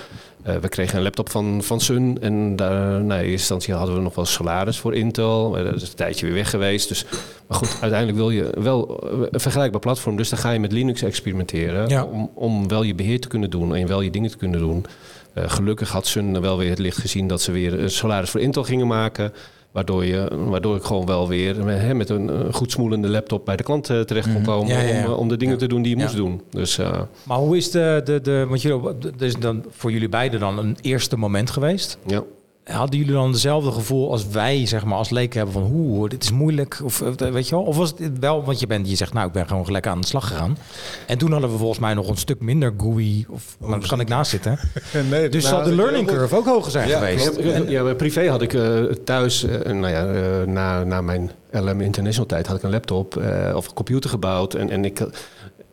eh, we kregen een laptop van, van Sun. En daar, nou, in eerste instantie hadden we nog wel salaris voor Intel. Maar dat is een tijdje weer weg geweest. Dus, maar goed, uiteindelijk wil je wel eh, een vergelijkbaar platform. Dus dan ga je met Linux experimenteren. Ja. Om, om wel je beheer te kunnen doen en wel je dingen te kunnen doen. Eh, gelukkig had Sun wel weer het licht gezien dat ze weer een salaris voor Intel gingen maken. Waardoor, je, waardoor ik gewoon wel weer eh, hè, met een eh, goed smoelende laptop bij de klant eh, terecht kon komen. Ja, ja, ja. Om, eh, om de dingen te doen die je Ja. moest doen. Dus eh, Maar hoe is de, de, de want jullie, er is dan voor jullie beiden dan een eerste moment geweest. ja. Hadden jullie dan hetzelfde gevoel als wij, zeg maar, als leken hebben van, hoe, dit is moeilijk, of eh, weet je wel? Of was het wel, want je, bent, je zegt, nou, ik ben gewoon gelijk aan de slag gegaan. En toen hadden we volgens mij nog een stuk minder GUI, of Oh, maar daar kan ik naast zitten. Nee, Dus nou, zal de dat- learning curve ook hoger zijn Ja, geweest. klopt. Ja, ja, maar privé had ik eh, thuis, eh, nou ja, eh, na, na mijn LM International tijd had ik een laptop eh, of een computer gebouwd. En, en ik had-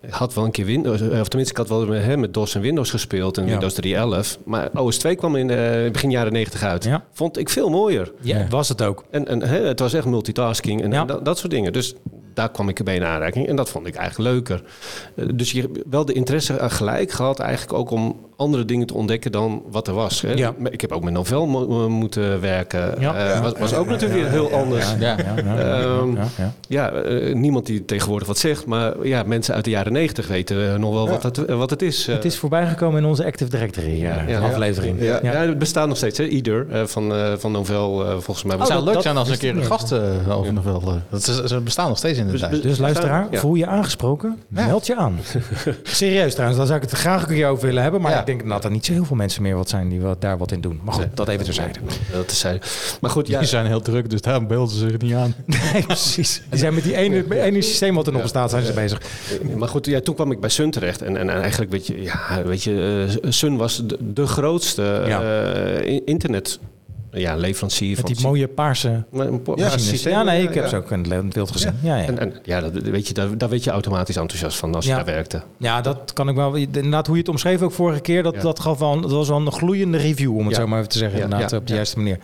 ik had wel een keer Windows, eh, of tenminste ik had wel met, hè, met DOS en Windows gespeeld en Ja. Windows 3.11. Maar OS 2 kwam in eh, begin jaren 90 uit. Ja. Vond ik veel mooier. Ja, was het ook. En, en hè, het was echt multitasking en, Ja. en dat, dat soort dingen. Dus daar kwam ik erbij in aanraking en dat vond ik eigenlijk leuker. Eh, dus je hebt wel de interesse eh, gelijk gehad eigenlijk ook om andere dingen te ontdekken dan wat er was. Hè. Ja. Maar Ik heb ook met novel mo- mo- moeten werken. Ja. Ja. was, was ook natuurlijk weer heel anders. Ja, Ja, ja, ja, ja, Ehm, ja, ja. eh, niemand die tegenwoordig wat zegt, maar ja, mensen uit de jaren negentig weten eh, nog wel wat, het, eh, wat het is. eh. Het is voorbijgekomen in onze Active Directory eh, ja. aflevering. ja. Ja, het bestaat nog steeds, hè? Ieder eh, van, eh, van Novel, eh, volgens mij. Het zou Oh, leuk dat- dat zijn als een wist keer ik een niet. gast eh, over nog wel. eh, Dat ze, ze bestaan nog steeds inderdaad. Dus- Dus luisteraar, Ja. voel je aangesproken? Meld je aan. Serieus trouwens, daar zou ik het graag een keer over willen hebben. Maar Ja. ik denk dat er niet zo heel veel mensen meer wat zijn die wat, daar wat in doen. Maar goed, dat even terzijde. Dat is zij. Maar goed, ja, Die zijn heel druk, dus daarom beelden ze zich niet aan. Nee, precies. Die zijn met die ene, met ene systeem wat er nog bestaat, zijn ze bezig. Maar goed, ja, toen kwam ik bij Sun terecht. En, en, en eigenlijk, weet je, ja, weet je eh, Sun was de, de grootste Ja. eh, in- internet ja, leverancier Met van die mooie paarse een po- Ja, machines. systeem. Ja, nee, ik heb ze ook in het le- in het wild gezien. Ja, ja. En, en ja, dat, weet je, daar, daar werd je automatisch enthousiast van als Ja. je daar werkte. ja, dat kan ik wel. Inderdaad, hoe je het omschreef ook vorige keer, dat, Ja. dat, gaf wel, een- dat was wel een gloeiende review, om het Ja. zo maar even te zeggen. Ja, Inderdaad, ja, op de ja. juiste manier.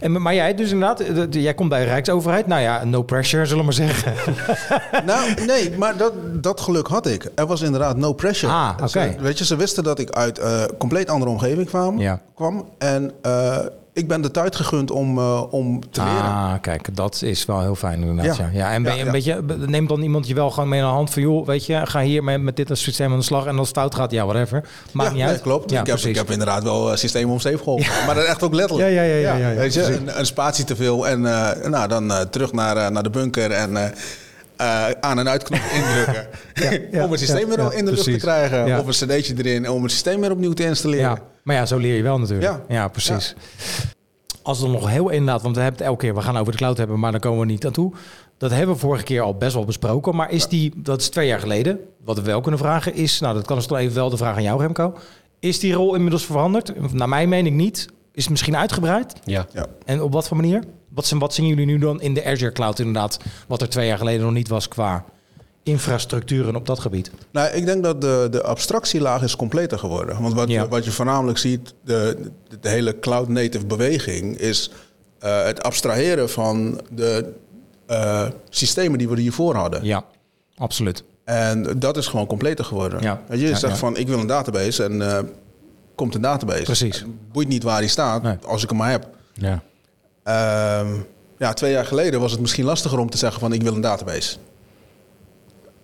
En, maar jij, dus inderdaad, eh, dat- jij komt bij de Rijksoverheid. Nou ja, no pressure, zullen we maar zeggen. Nou, nee, maar dat, dat geluk had ik. Er was inderdaad no pressure. Ah, oké. Ze- Weet je, ze wisten dat ik uit een compleet andere omgeving kwam. Ja. kwam en eh, ik ben de tijd gegund om, eh, om te leren. Ah, kijk, dat is wel heel fijn inderdaad. Ja. Ja. Ja. en ben Ja, je ja. een beetje, neemt dan iemand je wel gewoon mee aan de hand van... joh, weet je, ga hier met, met dit als systeem aan de slag... en als het fout gaat, ja, whatever. Maakt ja, niet nee, uit. klopt. Ja, ik, heb, ik precies. heb inderdaad wel eh, systemen om zeep geholpen. Maar dat echt ook letterlijk. Ja, ja, ja, ja, ja, ja, weet je, een, een spatie te veel en eh, nou, dan eh, terug naar, eh, naar de bunker en eh, eh, aan- en uitknop indrukken. ja, om een systeem weer ja, in de lucht precies. te krijgen. Ja. Of een cd'tje erin om het systeem weer opnieuw te installeren. Ja, maar ja, zo leer je wel natuurlijk. Ja, Ja. precies. Als we nog heel inderdaad, want we hebben het elke keer... we gaan over de cloud hebben, maar daar komen we niet aan toe. Dat hebben we vorige keer al best wel besproken. Maar is die, dat is twee jaar geleden. Wat we wel kunnen vragen is... nou, dat kan dus toch even wel de vraag aan jou, Remco. Is die rol inmiddels veranderd? Naar mijn mening niet. Is het misschien uitgebreid? Ja. Ja. En op wat voor manier? Wat, zijn, wat zien jullie nu dan in de Azure Cloud inderdaad, wat er twee jaar geleden nog niet was qua infrastructuren op dat gebied? Nou, ik denk dat de, de abstractielaag is completer geworden. Want wat, Ja. je, wat je voornamelijk ziet, de, de, de hele cloud-native beweging, is eh, het abstraheren van de eh, systemen die we hiervoor hadden. Ja, absoluut. En dat is gewoon completer geworden. Ja. Weet Je, je Ja, zegt ja. van, ik wil een database en eh, komt een database. Precies. Het Boeit niet waar die staat, Nee. als ik hem maar heb. Ja. Ehm, ja, twee jaar geleden was het misschien lastiger om te zeggen van, ik wil een database. Eh,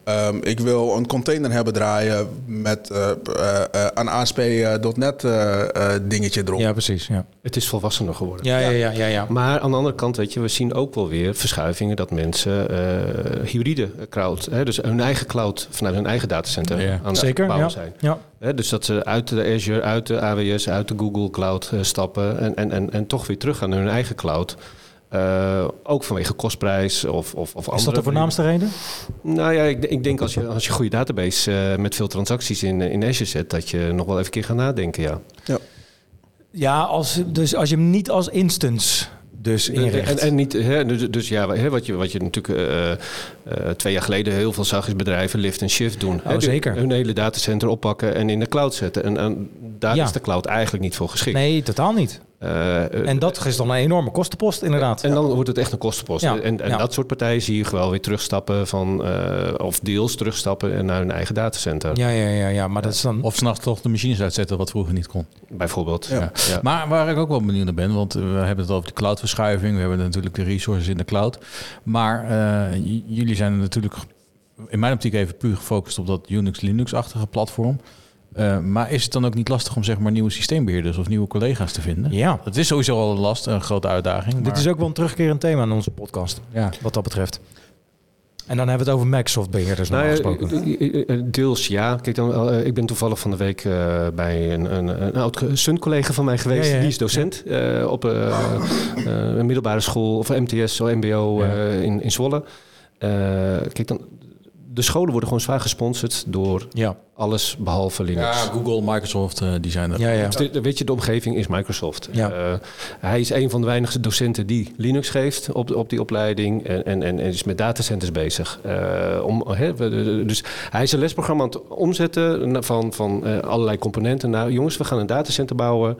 Ehm, ik wil een container hebben draaien met eh, eh, eh, een ASP.NET eh, eh, dingetje erop. Ja, precies. Ja. Het is volwassener geworden. Ja, ja, ja, ja, ja. Maar aan de andere kant, weet je, we zien ook wel weer verschuivingen dat mensen eh, hybride cloud, hè, dus hun eigen cloud vanuit hun eigen datacenter Ja. aan het Zeker, bouwen ja. zijn. ja. Hè, dus dat ze uit de Azure, uit de AWS, uit de Google Cloud eh, stappen en, en, en, en toch weer terug gaan naar hun eigen cloud. Eh, ook vanwege kostprijs of, of, of andere... Is dat de voornaamste reden? Nou ja, ik, ik denk als je, als je een goede database eh, met veel transacties in, eh, in Azure zet, dat je nog wel even een keer gaat nadenken, ja. Ja, als, dus als je hem niet als instance dus inricht. En, en niet, hè, dus, dus ja, hè, wat, je, wat je natuurlijk eh, eh, twee jaar geleden heel veel zag, is bedrijven lift en shift doen. Hè, die Oh, zeker. Hun hele datacenter oppakken en in de cloud zetten. En, en daar Ja. is de cloud eigenlijk niet voor geschikt. nee, totaal niet. Eh, eh, En dat is dan een enorme kostenpost, inderdaad. en dan wordt het echt een kostenpost. Ja. En, en Ja. dat soort partijen zie je gewoon weer terugstappen van, eh, of deels terugstappen naar hun eigen datacenter. Ja, ja, ja, ja, maar dat is dan... Of s'nachts toch de machines uitzetten, wat vroeger niet kon. Bijvoorbeeld. Ja. Ja. Maar waar ik ook wel benieuwd naar ben, want eh, we hebben het over de cloudverschuiving. We hebben natuurlijk de resources in de cloud. Maar eh, j- jullie zijn natuurlijk in mijn optiek even puur gefocust op dat Unix-Linux-achtige platform. Eh, maar is het dan ook niet lastig om zeg maar nieuwe systeembeheerders of nieuwe collega's te vinden? Ja, Dat is sowieso al een last, een grote uitdaging. dit is ook wel een terugkerend thema in onze podcast, Ja. wat dat betreft. En dan hebben we het over Microsoft-beheerders Nou normaal ja, gesproken. eh, eh, deels ja. Kijk dan, eh, ik ben toevallig van de week eh, bij een, een, een oud Sun-collega van mij geweest. Ja, ja, ja. Die is docent eh, op eh, eh, een middelbare school of MTS, of MBO Ja. eh, in, in Zwolle. Eh, kijk dan, de scholen worden gewoon zwaar gesponsord door Ja, alles behalve Linux. Ja, Google, Microsoft, eh, die zijn er. ja, ja. Dus dit- weet je, de omgeving is Microsoft. Ja. Eh, hij is een van de weinige docenten die Linux geeft op, op die opleiding en, en, en en is met datacenters bezig. Eh, om, hè, we- de- dus hij is een lesprogramma aan het omzetten na- van, van eh, allerlei componenten. Nou, jongens, we gaan een datacenter bouwen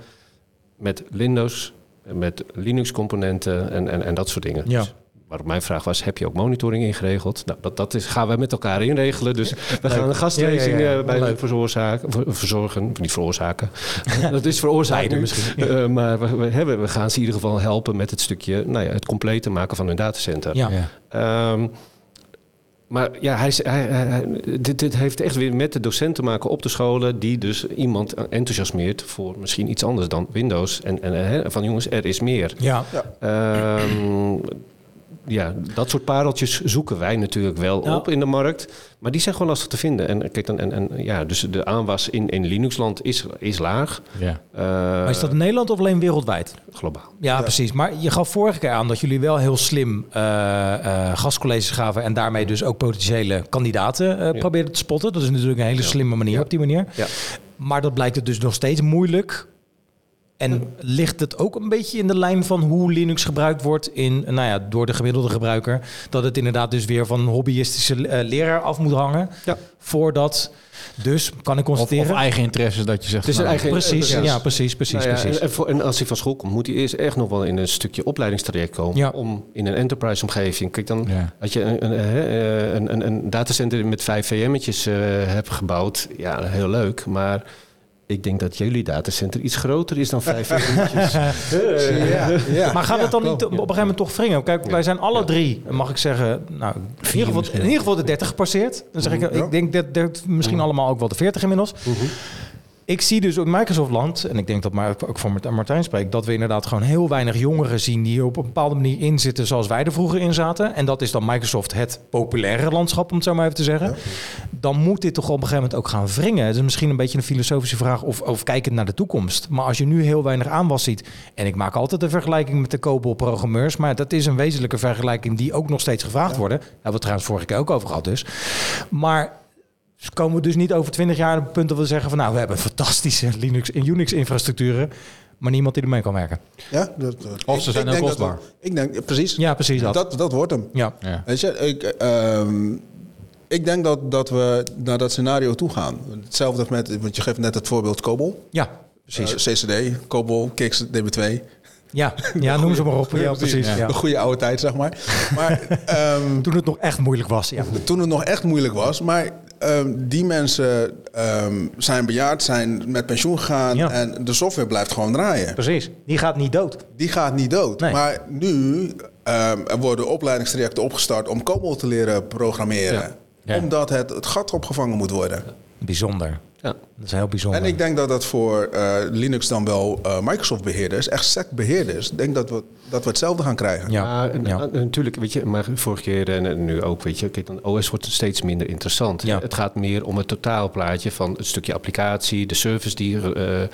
met Windows, met Linux componenten en, en, en dat soort dingen. Ja. Dus Waarop mijn vraag was, heb je ook monitoring ingeregeld? Nou, dat, dat is, gaan wij met elkaar inregelen. Dus we gaan een gastracing Ja, ja, ja. eh, bij Leuk. de veroorzaken, ver- verzorgen, niet veroorzaken. dat is veroorzaken misschien. Eh, maar we, we, hebben, we gaan ze in ieder geval helpen met het stukje, nou ja, het complete maken van hun datacenter. ja. Ja. Ehm, maar ja, hij, is- hij, hij- hij- dit, dit heeft echt weer met de docent te maken op de scholen, die dus iemand enthousiasmeert voor misschien iets anders dan Windows. En, en eh, hè, van jongens, er is meer. ja. Ehm, ja, dat soort pareltjes zoeken wij natuurlijk wel Ja. op in de markt. Maar die zijn gewoon lastig te vinden. En, kijk, dan- en, en, ja, dus de aanwas in, in Linuxland is, is laag. Ja. Eh, Maar is dat in Nederland of alleen wereldwijd? globaal? Ja, precies. Maar je gaf vorige keer aan dat jullie wel heel slim eh, eh, gastcolleges gaven en daarmee dus ook potentiële kandidaten eh probeerden te spotten. Dat is natuurlijk een hele slimme manier op die manier. Ja. Maar dat blijkt het dus nog steeds moeilijk. En ligt het ook een beetje in de lijn van hoe Linux gebruikt wordt in, nou ja, door de gemiddelde gebruiker? Dat het inderdaad dus weer van een hobbyistische eh, leraar af moet hangen. Ja. Voordat, dus kan ik Of, of constateren. eigen interesses dat je zegt. Het is een nou, eigen- precies, eh, ja, precies, precies, Nou ja, precies. En, en voor- en als hij van school komt, moet hij eerst echt nog wel in een stukje opleidingstraject komen. Ja. Om in een enterprise omgeving. Kijk, dan Ja. als je een, een, eh, een, een, een datacenter met vijf VM'tjes eh, hebt gebouwd, ja, heel leuk. Maar ik denk dat jullie datacenter iets groter is dan vijf VM'tjes. Maar gaat het dan niet op een gegeven moment toch wringen? Kijk, wij zijn alle drie, mag ik zeggen, nou, in, ieder geval, in ieder geval de 30 gepasseerd. Dan zeg ik, ik denk dat, dat misschien allemaal ook wel de 40 inmiddels. Ik zie dus ook Microsoft-land, en ik denk dat maar ook voor Mart- Martijn spreekt, dat we inderdaad gewoon heel weinig jongeren zien die op een bepaalde manier inzitten zoals wij er vroeger in zaten. En dat is dan Microsoft het populaire landschap, om het zo maar even te zeggen. Dan moet dit toch op een gegeven moment ook gaan wringen. Het is misschien een beetje een filosofische vraag of, of kijkend naar de toekomst. Maar als je nu heel weinig aanwas ziet, en ik maak altijd een vergelijking met de COBOL-programmeurs, maar dat is een wezenlijke vergelijking die ook nog steeds gevraagd worden. Daar hebben we het trouwens vorige keer ook over gehad dus. Maar dus komen we dus niet over 20 jaar op het punt dat we zeggen van nou, we hebben fantastische Linux en Unix infrastructuren, maar niemand die ermee kan werken. Ja, dat, dat- Of ze ik- zijn ik heel denk dat- kostbaar. ik denk, ja, precies. Ja, precies dat. Dat, dat wordt hem. Ja. Ja. Weet je, ik, ehm, ik denk dat, dat we naar dat scenario toe gaan. Hetzelfde met, want je geeft net het voorbeeld COBOL. Ja, precies. Eh, CCD, COBOL, Kix, DB2. ja. ja, noem ze maar op. Ja, precies. Ja. De goede oude tijd, zeg maar. Maar ehm, Toen het nog echt moeilijk was. Ja. toen het nog echt moeilijk was. Maar ehm, die mensen ehm, zijn bejaard, zijn met pensioen gegaan. Ja. En de software blijft gewoon draaien. Precies. Die gaat niet dood. Die gaat niet dood. Nee. Maar nu ehm, er worden opleidingstrajecten opgestart om COBOL te leren programmeren. Ja. Omdat het, het gat opgevangen moet worden. Bijzonder. Ja. Dat is heel bijzonder. En ik denk dat dat voor eh, Linux dan wel eh, Microsoft-beheerders, echt SEC-beheerders, ik denk dat we, dat we hetzelfde gaan krijgen. ja. Maar, eh, ja. eh, natuurlijk, weet je, maar vorige keer en eh, nu ook, weet je, kijk, dan OS wordt steeds minder interessant. Ja. Het gaat meer om het totaalplaatje van het stukje applicatie, de service die. eh, eh,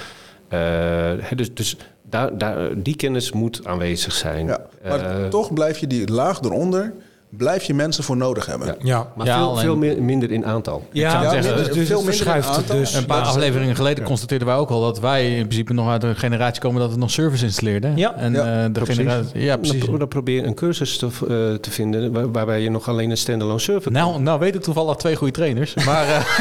hè, dus dus daar, daar, die kennis moet aanwezig zijn. Ja. Maar Eh, toch blijf je die laag eronder, blijf je mensen voor nodig hebben. Ja. Ja. maar Ja, veel, alleen- veel meer- minder in aantal. Ja, zou ja, zeggen, dus, minder- dus veel het minder verschuift het aantal. dus. Een paar Ja. afleveringen geleden constateerden wij ook al dat wij in principe nog uit een generatie komen dat het nog service installeerde. Ja. en Ja, eh, de generatie. Ja, precies. Dan, dan probeer een cursus te, eh, te vinden waar- waarbij je nog alleen een standalone server Nou, nou weet ik toevallig twee goede trainers. Maar eh,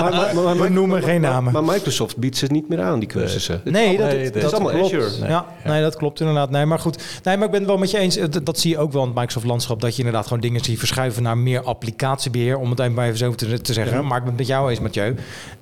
maar, maar, maar- We noemen geen namen. maar Microsoft biedt ze niet meer aan, die cursussen. Nee, dat, Nee, dat, dat is allemaal klopt. Azure. Nee. Ja, nee, dat klopt inderdaad. Nee, maar goed. Nee, maar ik ben het wel met je eens. Eh, Dat, dat zie je ook wel in het Microsoft-landschap. Dat je inderdaad gewoon dingen ziet verschuiven naar meer applicatiebeheer. Om het even maar even zo te, te zeggen. Maar ik ben het met jou eens, Mathieu.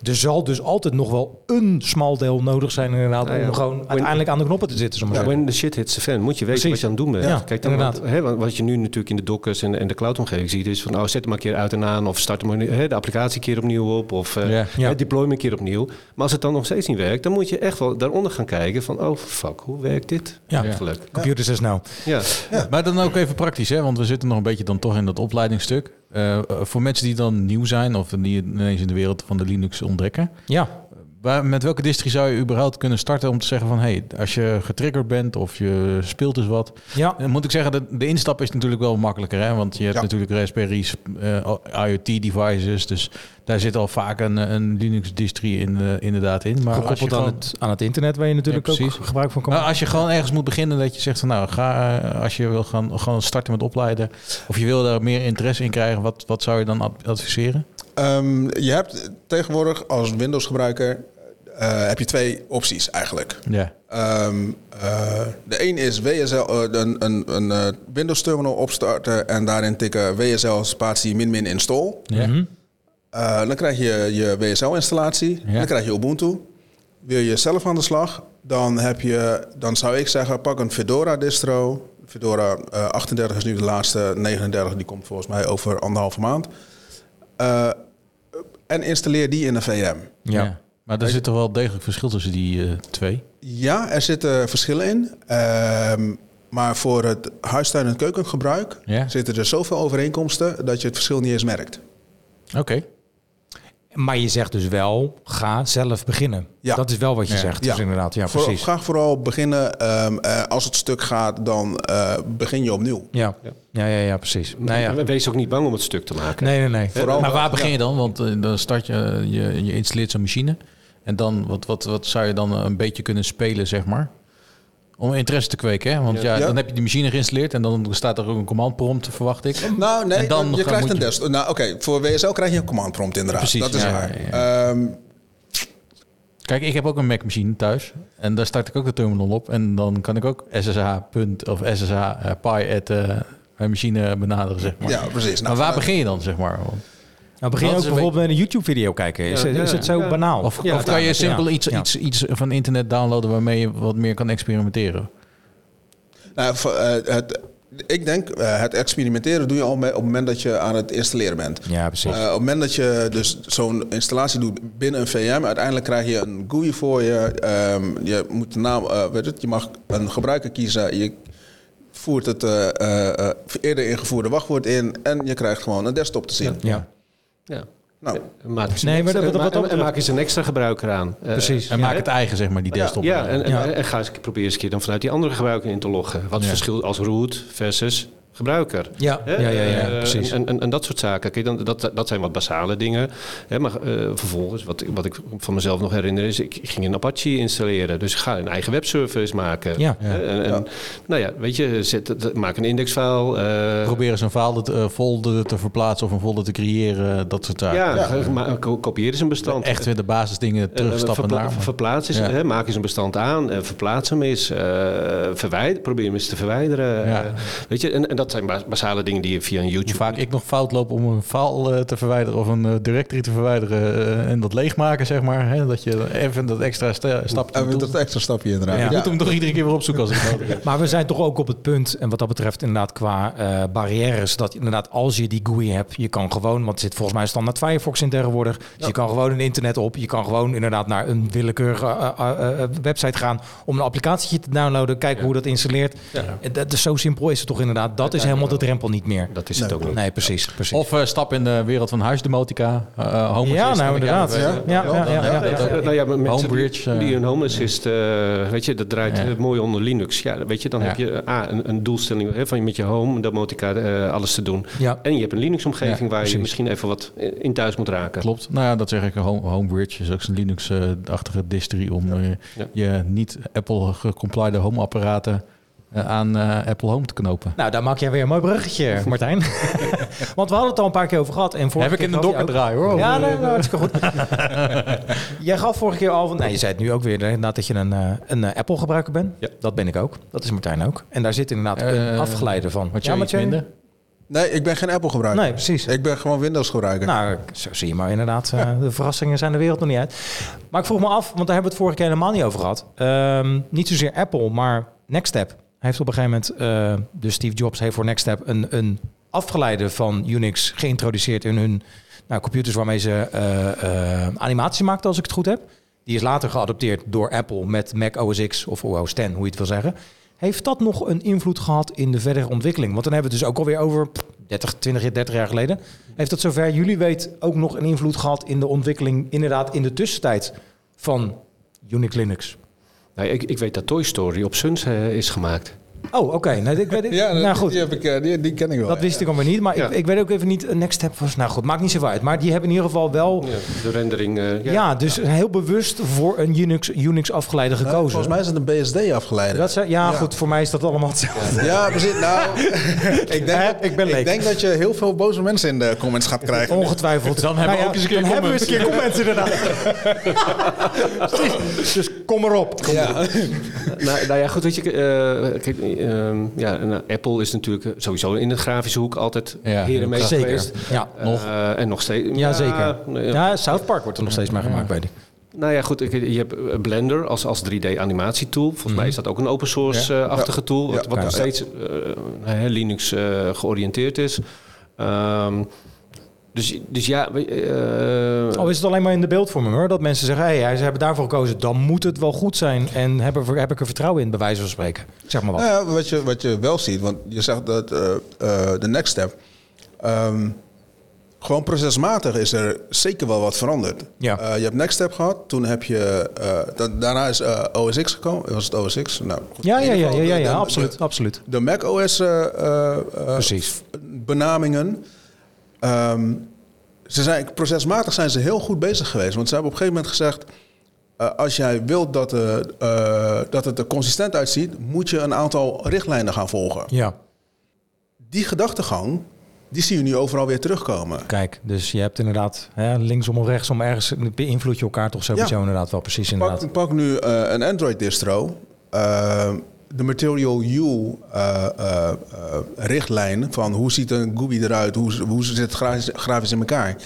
Er zal dus altijd nog wel een smal deel nodig zijn inderdaad. Nou ja, Om gewoon when- uiteindelijk aan de knoppen te zitten. zullen we Ja, maar when the shit hits the fan, moet je weten Precies. wat je aan het doen bent. Ja, Kijk, dan, inderdaad. want, hè, want wat je nu natuurlijk in de dockers en, en de cloudomgeving ziet, is van nou zet hem maar een keer uit en aan of start hem maar, hè, de applicatie een keer opnieuw op of eh, Ja. Ja. hè, deploy hem een keer opnieuw. Maar als het dan nog steeds niet werkt, dan moet je echt wel daaronder gaan kijken van oh fuck, hoe werkt dit Ja. eigenlijk? zeggen. Computers is nou. Ja. Maar dan ook even praktisch, hè? want we zitten nog een beetje dan toch in dat opleidingsstuk. Eh, eh, voor mensen die dan nieuw zijn of die ineens in de wereld van de Linux ontdekken. Ja. Waar, met welke distri zou je überhaupt kunnen starten om te zeggen van... hey, als je getriggerd bent of je speelt dus wat... Ja. Dan moet ik zeggen, dat de instap is natuurlijk wel makkelijker. Hè? Want je hebt Ja. natuurlijk Raspberry's, eh, IoT-devices. Dus daar zit al vaak een, eh, een Linux-distri in, eh, inderdaad in. Maar als je, Gekoppeld aan, gewoon, het, aan het internet waar je natuurlijk Ja, ook precies. gebruik van kan nou, maken. als je gewoon ergens moet beginnen dat je zegt... Van, nou, ga, eh, als je wil gaan, gewoon starten met opleiden... of je wil daar meer interesse in krijgen... wat, wat zou je dan ad- adviseren? Ehm, je hebt tegenwoordig als Windows-gebruiker eh, heb je twee opties eigenlijk. Ja. Ehm, eh, de een is WSL, eh, een, een, een eh, Windows terminal opstarten en daarin tikken WSL spatie min min install. Ja. Mhm. Eh, dan krijg je je WSL installatie, Ja. dan krijg je Ubuntu. Wil je zelf aan de slag, dan, heb je, dan zou ik zeggen pak een Fedora distro. Fedora eh, 38 is nu de laatste, 39 die komt volgens mij over anderhalve maand. Eh, en installeer die in een VM. Ja. Maar er zit toch wel degelijk verschil tussen die eh, twee? Ja, er zitten verschillen in. Ehm, maar voor het huistuin- en keukengebruik Ja. zitten er zoveel overeenkomsten dat je het verschil niet eens merkt. Oké. Maar je zegt dus wel, ga zelf beginnen. Ja. Dat is wel wat je Ja. zegt. Dus inderdaad. Ja, Voor- precies. Graag vooral beginnen. ehm, eh, als het stuk gaat, dan eh, begin je opnieuw. Ja. Ja, ja, ja, precies. Nou ja. En Wees ook niet bang om het stuk te maken. Nee, nee, nee. Vooral maar waar begin je dan? Want eh, dan start je, eh, je, je installeert zo'n machine. En dan, wat, wat, wat zou je dan eh, een beetje kunnen spelen, zeg maar? Om interesse te kweken, hè? Want ja, Ja. dan heb je die machine geïnstalleerd en dan staat er ook een command prompt, verwacht ik. Nou, nee, En dan je gaan- krijgt moet een je- desktop. Nou, oké, voor WSL krijg je een command prompt inderdaad. Precies, dat is ja, waar. ja, Ehm, Kijk, ik heb ook een Mac-machine thuis. En daar start ik ook de terminal op. En dan kan ik ook SSH punt of SSH eh, pi at eh, mijn machine benaderen, zeg maar. ja, precies. maar Nou, waar eh, begin je dan, zeg maar? Want- Nou, begin Dat je is ook een bijvoorbeeld met een YouTube-video kijken. Is, Ja, het- ja, is het zo ja. banaal? Of, Ja, of kan je ja. simpel Ja. iets, Ja. iets, iets van internet downloaden waarmee je wat meer kan experimenteren? nou, voor, eh, het, ik denk, eh, het experimenteren doe je al mee- op het moment dat je aan het installeren bent. Ja, precies. Eh, op het moment dat je dus zo'n installatie doet binnen een VM, uiteindelijk krijg je een GUI voor je. Ehm, je moet de naam, eh, weet het, je mag een gebruiker kiezen. Je voert het eh, eh, eh, eerder ingevoerde wachtwoord in en je krijgt gewoon een desktop te zien. ja. Ja. Eh, Nou, Maak eens Oh. Nee, een maar dat- extra- wat dat en- en betreft- maak eens een extra gebruiker aan. Eh, Precies. En Ja, maak het eigen, zeg maar, die desktop. Ja, en, en, Ja. en ga eens probeer eens een keer dan vanuit die andere gebruiker in te loggen. Wat is het Ja. verschil als root versus gebruiker? Ja, Hè? ja, ja, ja, Eh, precies. En, en, en dat soort zaken. Kijk, dan, dat, dat zijn wat basale dingen. Hè, maar eh, vervolgens, wat, ik- wat ik van mezelf nog herinner, is ik ging een Apache installeren. Dus ik ga een eigen webserver eens maken. Ja. Hè, En, en, Nou ja, weet je, zet, het- maak een indexfile. eh, Probeer eens een file te- eh, folder te verplaatsen of een folder te creëren, eh, dat soort zaken. ja, ga- ma- ko- kopieer eens een bestand. Eh, Echt weer de basisdingen terugstappen Verpla- naar. Verplaats eens, Ja. hè, maak eens een bestand aan, eh, verplaats hem eens, eh verwijder, probeer hem eens te verwijderen. Ja. eh, weet je, en, en dat, dat zijn ba- basale dingen die je via een Hoe YouTube... vaak ik nog fout loop om een file eh, te verwijderen of een eh, directory te verwijderen eh, en dat leegmaken, zeg maar. Hè? Dat je even dat extra sta- stapje En doet. e- dat extra stapje inderdaad. Ja, Ja. Ik moet hem toch iedere keer weer opzoeken als ik nodig heb. Maar we zijn toch ook op het punt, en wat dat betreft inderdaad qua eh, barrières, dat inderdaad als je die GUI hebt, je kan gewoon, want er zit volgens mij standaard Firefox in tegenwoordig, dus je kan gewoon een internet op, je kan gewoon inderdaad naar een willekeurige eh, eh, eh, website gaan om een applicatie te downloaden, kijken hoe dat installeert. Eh, Dat, dus zo simpel is het toch inderdaad, dat is helemaal de drempel niet meer. Dat is het ook niet. Nee, precies. precies. Of eh, stap in de wereld van huisdemotica. eh, eh, home ja, assistant. nou inderdaad. Ja, Ja, ja, ja, ja, ja. Eh, nou ja, maar mensen Homebridge, die- eh. die een home assist, eh, weet je, dat draait eh, mooi onder Linux. Ja, weet je, dan Ja. heb je eh, A, een, een doelstelling hè, van je met je home, domotica, eh, alles te doen. Ja. En je hebt een Linux-omgeving Ja, waar precies. je misschien even wat eh, in thuis moet raken. Klopt. Nou ja, dat zeg ik. Home, Homebridge is ook een Linux-achtige distri om eh, Ja. je niet-Apple-gecompliede home-apparaten eh, aan eh, Apple Home te knopen. Nou, daar maak jij weer een mooi bruggetje, Martijn. Want we hadden het al een paar keer over gehad. En vorige Heb ik keer in de gaf je dokker ook- draai hoor. Ja, nee, nou, hartstikke goed. Jij gaf vorige keer al van... Nee, je zei het nu ook weer inderdaad dat je een, eh, een eh, Apple-gebruiker bent. Ja. Dat ben ik ook. Dat is Martijn ook. En daar zit inderdaad een Eh, afgeleide van. Wat jij iets Mathieu? minder? Nee, ik ben geen Apple gebruiker. Nee, precies. Ik ben gewoon Windows gebruiker. Nou, zo zie je maar inderdaad. eh, de verrassingen zijn de wereld nog niet uit. Maar ik vroeg me af, want daar hebben we het vorige keer helemaal niet over gehad. Ehm, niet zozeer Apple, maar Nextstep. Hij heeft op een gegeven moment, eh, dus Steve Jobs heeft voor Nextstep een, een afgeleide van Unix geïntroduceerd in hun nou, computers waarmee ze eh, eh, animatie maakten, als ik het goed heb. Die is later geadopteerd door Apple met Mac OS X of OS X, hoe je het wil zeggen. Heeft dat nog een invloed gehad in de verdere ontwikkeling? Want dan hebben we het dus ook alweer over pff, 30, 20, jaar, 30 jaar geleden. Heeft dat zover jullie weet ook nog een invloed gehad in de ontwikkeling, inderdaad in de tussentijd van Unix Linux? Nou, ik, ik weet dat Toy Story op Suns eh, is gemaakt. Oh, oké. Nou, ik weet het. ja, nou goed. goed. Die, heb ik, eh, die, die ken ik wel. Dat wist ik alweer niet, maar Ja. ik, ik weet ook even niet. eh, Next Step was. Nou goed, maakt niet zoveel uit. Maar die hebben in ieder geval wel. Ja, Ja, de rendering. eh, ja. dus heel bewust voor een Unix, Unix afgeleide Nou, gekozen. volgens mij is het een BSD afgeleide. oh, dat ze, ja, Ja. goed. Voor mij is dat allemaal hetzelfde. Ja, precies. Nou, ik denk, dat, ik ben leek. denk dat je heel veel boze mensen in de comments gaat krijgen. Ongetwijfeld. Dan hebben we ook eens een keer dan hebben we eens een keer comments inderdaad. Precies. dus kom maar op. Ja. nou, nou ja, goed, weet je, eh, kijk, ehm, ja, nou, Apple is natuurlijk eh, sowieso in de grafische hoek altijd Ja, ja, herenmeester zeker. geweest. Ja, Eh, nog. en nog steeds. ja, zeker. nee, Ja, South Park wordt er nog steeds mee gemaakt, weet ik. Nou ja, goed. ik- Je hebt eh, Blender als, als 3D-animatietool. Volgens mij is dat ook een open source-achtige tool. Wat, wat Ja. nog steeds eh, hè, Linux eh, georiënteerd is. Ehm, dus, dus ja. we- eh, Al Oh, is het alleen maar in de beeldvorming hoor. Dat mensen zeggen, hé, hey, ze hebben daarvoor gekozen. Dan moet het wel goed zijn. En heb, er, heb ik er vertrouwen in, bij wijze van spreken. Zeg maar wat. Nou ja, wat, je, wat je wel ziet, want je zegt dat eh, eh, de next step. ehm, gewoon procesmatig is er zeker wel wat veranderd. Ja. Eh, je hebt next step gehad, toen heb je. eh, da- daarna is eh, OS X gekomen. Was het OS X? Nou, goed. Ja, In ja, ieder ja, geval ja, ja, de- ja de- absoluut, De, absoluut. de Mac OS eh, eh, eh, Precies. benamingen. Ehm, ze zijn, procesmatig zijn ze heel goed bezig geweest. Want ze hebben op een gegeven moment gezegd... eh, als jij wilt dat, eh, eh, dat het er consistent uitziet... moet je een aantal richtlijnen gaan volgen. Ja, Die gedachtegang, die zien we nu overal weer terugkomen. kijk. Dus je hebt inderdaad hè, linksom of rechtsom ergens... beïnvloed je elkaar toch sowieso Ja. inderdaad wel. Precies inderdaad. Pak, pak nu eh, een Android-distro. Eh, de Material eh, U-richtlijn eh, van hoe ziet een GUI eruit... hoe, hoe zit het grafisch, grafisch in elkaar...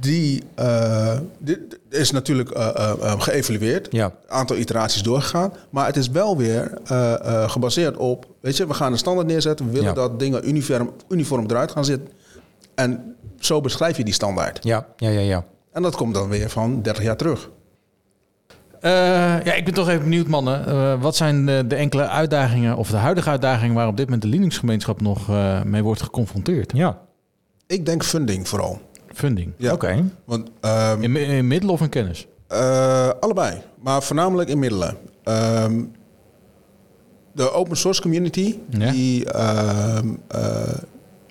Die eh, dit is natuurlijk eh, eh, eh, geëvalueerd. Ja. een aantal iteraties doorgegaan. Maar het is wel weer eh, eh, gebaseerd op, weet je, we gaan een standaard neerzetten. We willen Ja. dat dingen uniform, uniform eruit gaan zitten. En zo beschrijf je die standaard. Ja, ja, ja, ja. En dat komt dan weer van 30 jaar terug. Eh, ja, ik ben toch even benieuwd, mannen. Eh, wat zijn de, de enkele uitdagingen of de huidige uitdagingen waar op dit moment de Linux-gemeenschap nog eh, mee wordt geconfronteerd? Ja, Ik denk funding vooral. Funding. Ja. oké. Want ehm, In, in middelen of in kennis? eh, allebei, maar voornamelijk in middelen. Ehm, de open source community Ja. die ehm, eh,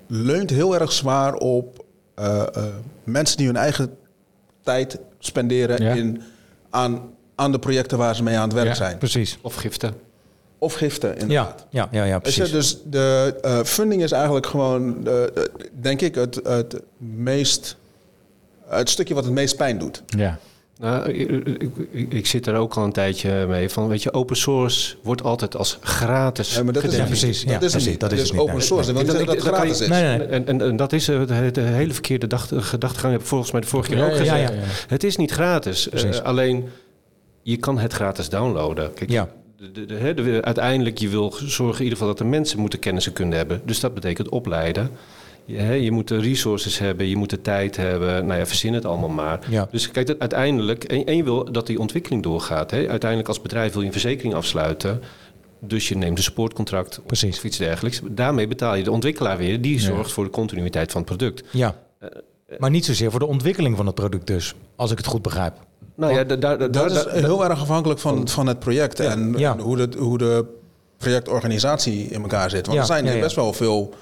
leunt heel erg zwaar op eh, eh, mensen die hun eigen tijd spenderen Ja. in, aan, aan de projecten waar ze mee aan het werk Ja, zijn. Precies. of giften. Of giften. In Ja, ja, ja, ja, Weet je, precies. dus de eh, funding is eigenlijk gewoon, eh, eh, denk ik, het, het meest. Het stukje wat het meest pijn doet. Ja. Nou, ik, ik, ik- ik zit daar ook al een tijdje mee van, weet je, open source wordt altijd als gratis Ja, maar dat gedefinieerd. is, precies. Dat Ja, is precies. het niet. Dat Dat is is het niet. open Nee. source. Dat wil Ik- niet zeggen ik- dat het dat kan gratis je- Nee, is. nee, nee. En, en, en dat is eh, de, de hele verkeerde dacht- gedachtegang. Heb ik volgens mij de vorige keer Ja, ook ja, gezegd. ja, ja. Het is niet gratis. Precies. Eh, alleen je kan het gratis downloaden. Kijk, Ja. de, de, de- hè, de- eh, uiteindelijk je wil zorgen in ieder geval dat de mensen moeten kennis en kunde hebben. Dus dat betekent opleiden. Je, hè, je moet de resources hebben, je moet de tijd hebben. Nou ja, verzin het allemaal maar. Ja. Dus kijk, dat uiteindelijk, en, en je wil dat die ontwikkeling doorgaat. Hè. Uiteindelijk als bedrijf wil je een verzekering afsluiten. Dus je neemt een supportcontract Precies. of iets dergelijks. Daarmee betaal je de ontwikkelaar weer. Die zorgt voor de continuïteit van het product. Ja. Maar niet zozeer voor de ontwikkeling van het product dus, als ik het goed begrijp. Nou ja, da- da- da- Dat da- is eh, heel erg afhankelijk van, van het project en Ja. en hoe, de, hoe de projectorganisatie in elkaar zit. Want Ja, er zijn ja, ja. best wel veel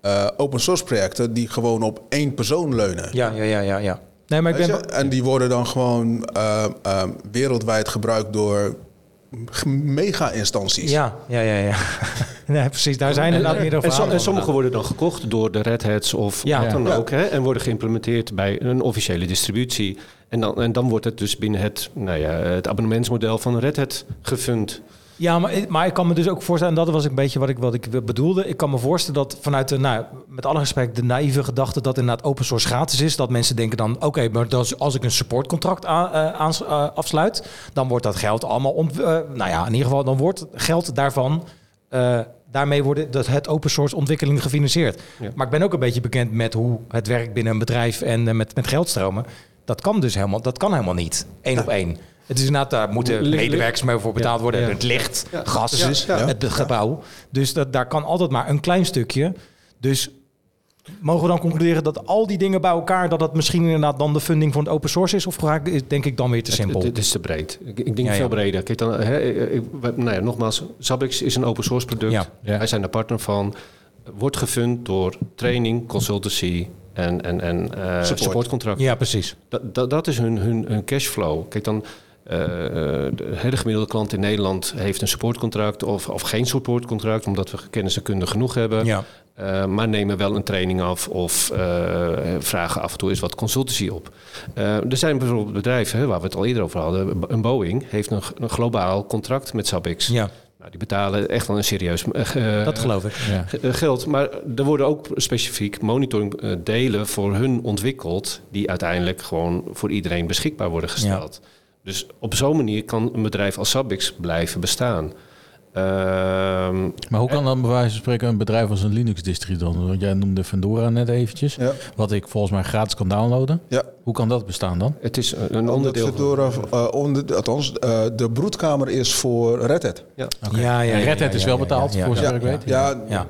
eh, open source projecten die gewoon op één persoon leunen. Ja, ja, ja, ja. ja. Nee, maar ik Weet ben... je? En die worden dan gewoon eh, eh, wereldwijd gebruikt door g- mega-instanties. Ja, ja, ja, ja. nee, precies. Daar zijn inderdaad meerdere en, som- verhalen en van. sommige worden dan gekocht door de Red Hats of Ja. wat dan Ja. ook. Hè, en worden geïmplementeerd bij een officiële distributie. En dan, en dan wordt het dus binnen het, nou ja, het abonnementsmodel van Red Hat gefund. Ja, maar, maar ik kan me dus ook voorstellen, en dat was een beetje wat ik, wat ik bedoelde. Ik kan me voorstellen dat vanuit de, nou, met alle respect, de naïeve gedachte dat inderdaad open source gratis is. Dat mensen denken dan, oké, maar dat is- als ik een supportcontract aan, eh, aans- eh, afsluit, dan wordt dat geld allemaal, ont- eh, nou ja, in ieder geval, dan wordt geld daarvan, eh, daarmee worden dat het open source ontwikkeling gefinancierd. Ja. Maar ik ben ook een beetje bekend met hoe het werkt binnen een bedrijf en eh, met, met geldstromen. Dat kan dus helemaal, dat kan helemaal niet, één op één. Het is inderdaad, daar moeten Ligt- ligt- medewerkers mee voor betaald Ja, worden. ja. Het licht, gas, precies, ja. het gebouw. Dus dat, daar kan altijd maar een klein stukje. Dus mogen we dan concluderen dat al die dingen bij elkaar... dat dat misschien inderdaad dan de funding van het open source is? Of ga ik- denk ik dan weer te simpel? Dit is te breed. Ik, ik denk Ja, ja. veel breder. Kijk dan, hè, ik- we- nou ja, nogmaals, Sabix is een open source product. Ja. Ja. Wij zijn er partner van. Wordt gefund door training, consultancy en, en, en eh, supportcontract. Ja, precies. Dat, dat, dat is hun, hun, hun cashflow. Kijk dan, eh, de, hè, de gemiddelde klant in Nederland heeft een supportcontract of, of geen supportcontract, omdat we kennis en kunde genoeg hebben. Ja. Eh, maar nemen wel een training af of eh, vragen af en toe eens wat consultancy op. Eh, er zijn bijvoorbeeld bedrijven, hè, waar we het al eerder over hadden, een Boeing heeft een, g- een globaal contract met Sabix. Ja, Nou, die betalen echt wel een serieus eh, dat geloof ik. Ja. Ge- eh, geld. Maar er worden ook specifiek monitoringdelen delen voor hun ontwikkeld, die uiteindelijk gewoon voor iedereen beschikbaar worden gesteld. Dus op zo'n manier kan een bedrijf als Sabix blijven bestaan. Ehm, Maar hoe kan dan bij wijze van spreken een bedrijf als een Linux-distri dan? Want jij noemde Fedora net eventjes. Ja. Wat ik volgens mij gratis kan downloaden. Ja. Hoe kan dat bestaan dan? het is een- een Omdat onderdeel. van- Fedora, eh, onder, althans, eh, de broedkamer is voor Red Hat. Ja. Ja, ja, ja, Red Hat ja, is ja, wel ja, betaald, ja, ja, voor zover ja, ik weet. Ja, Ja,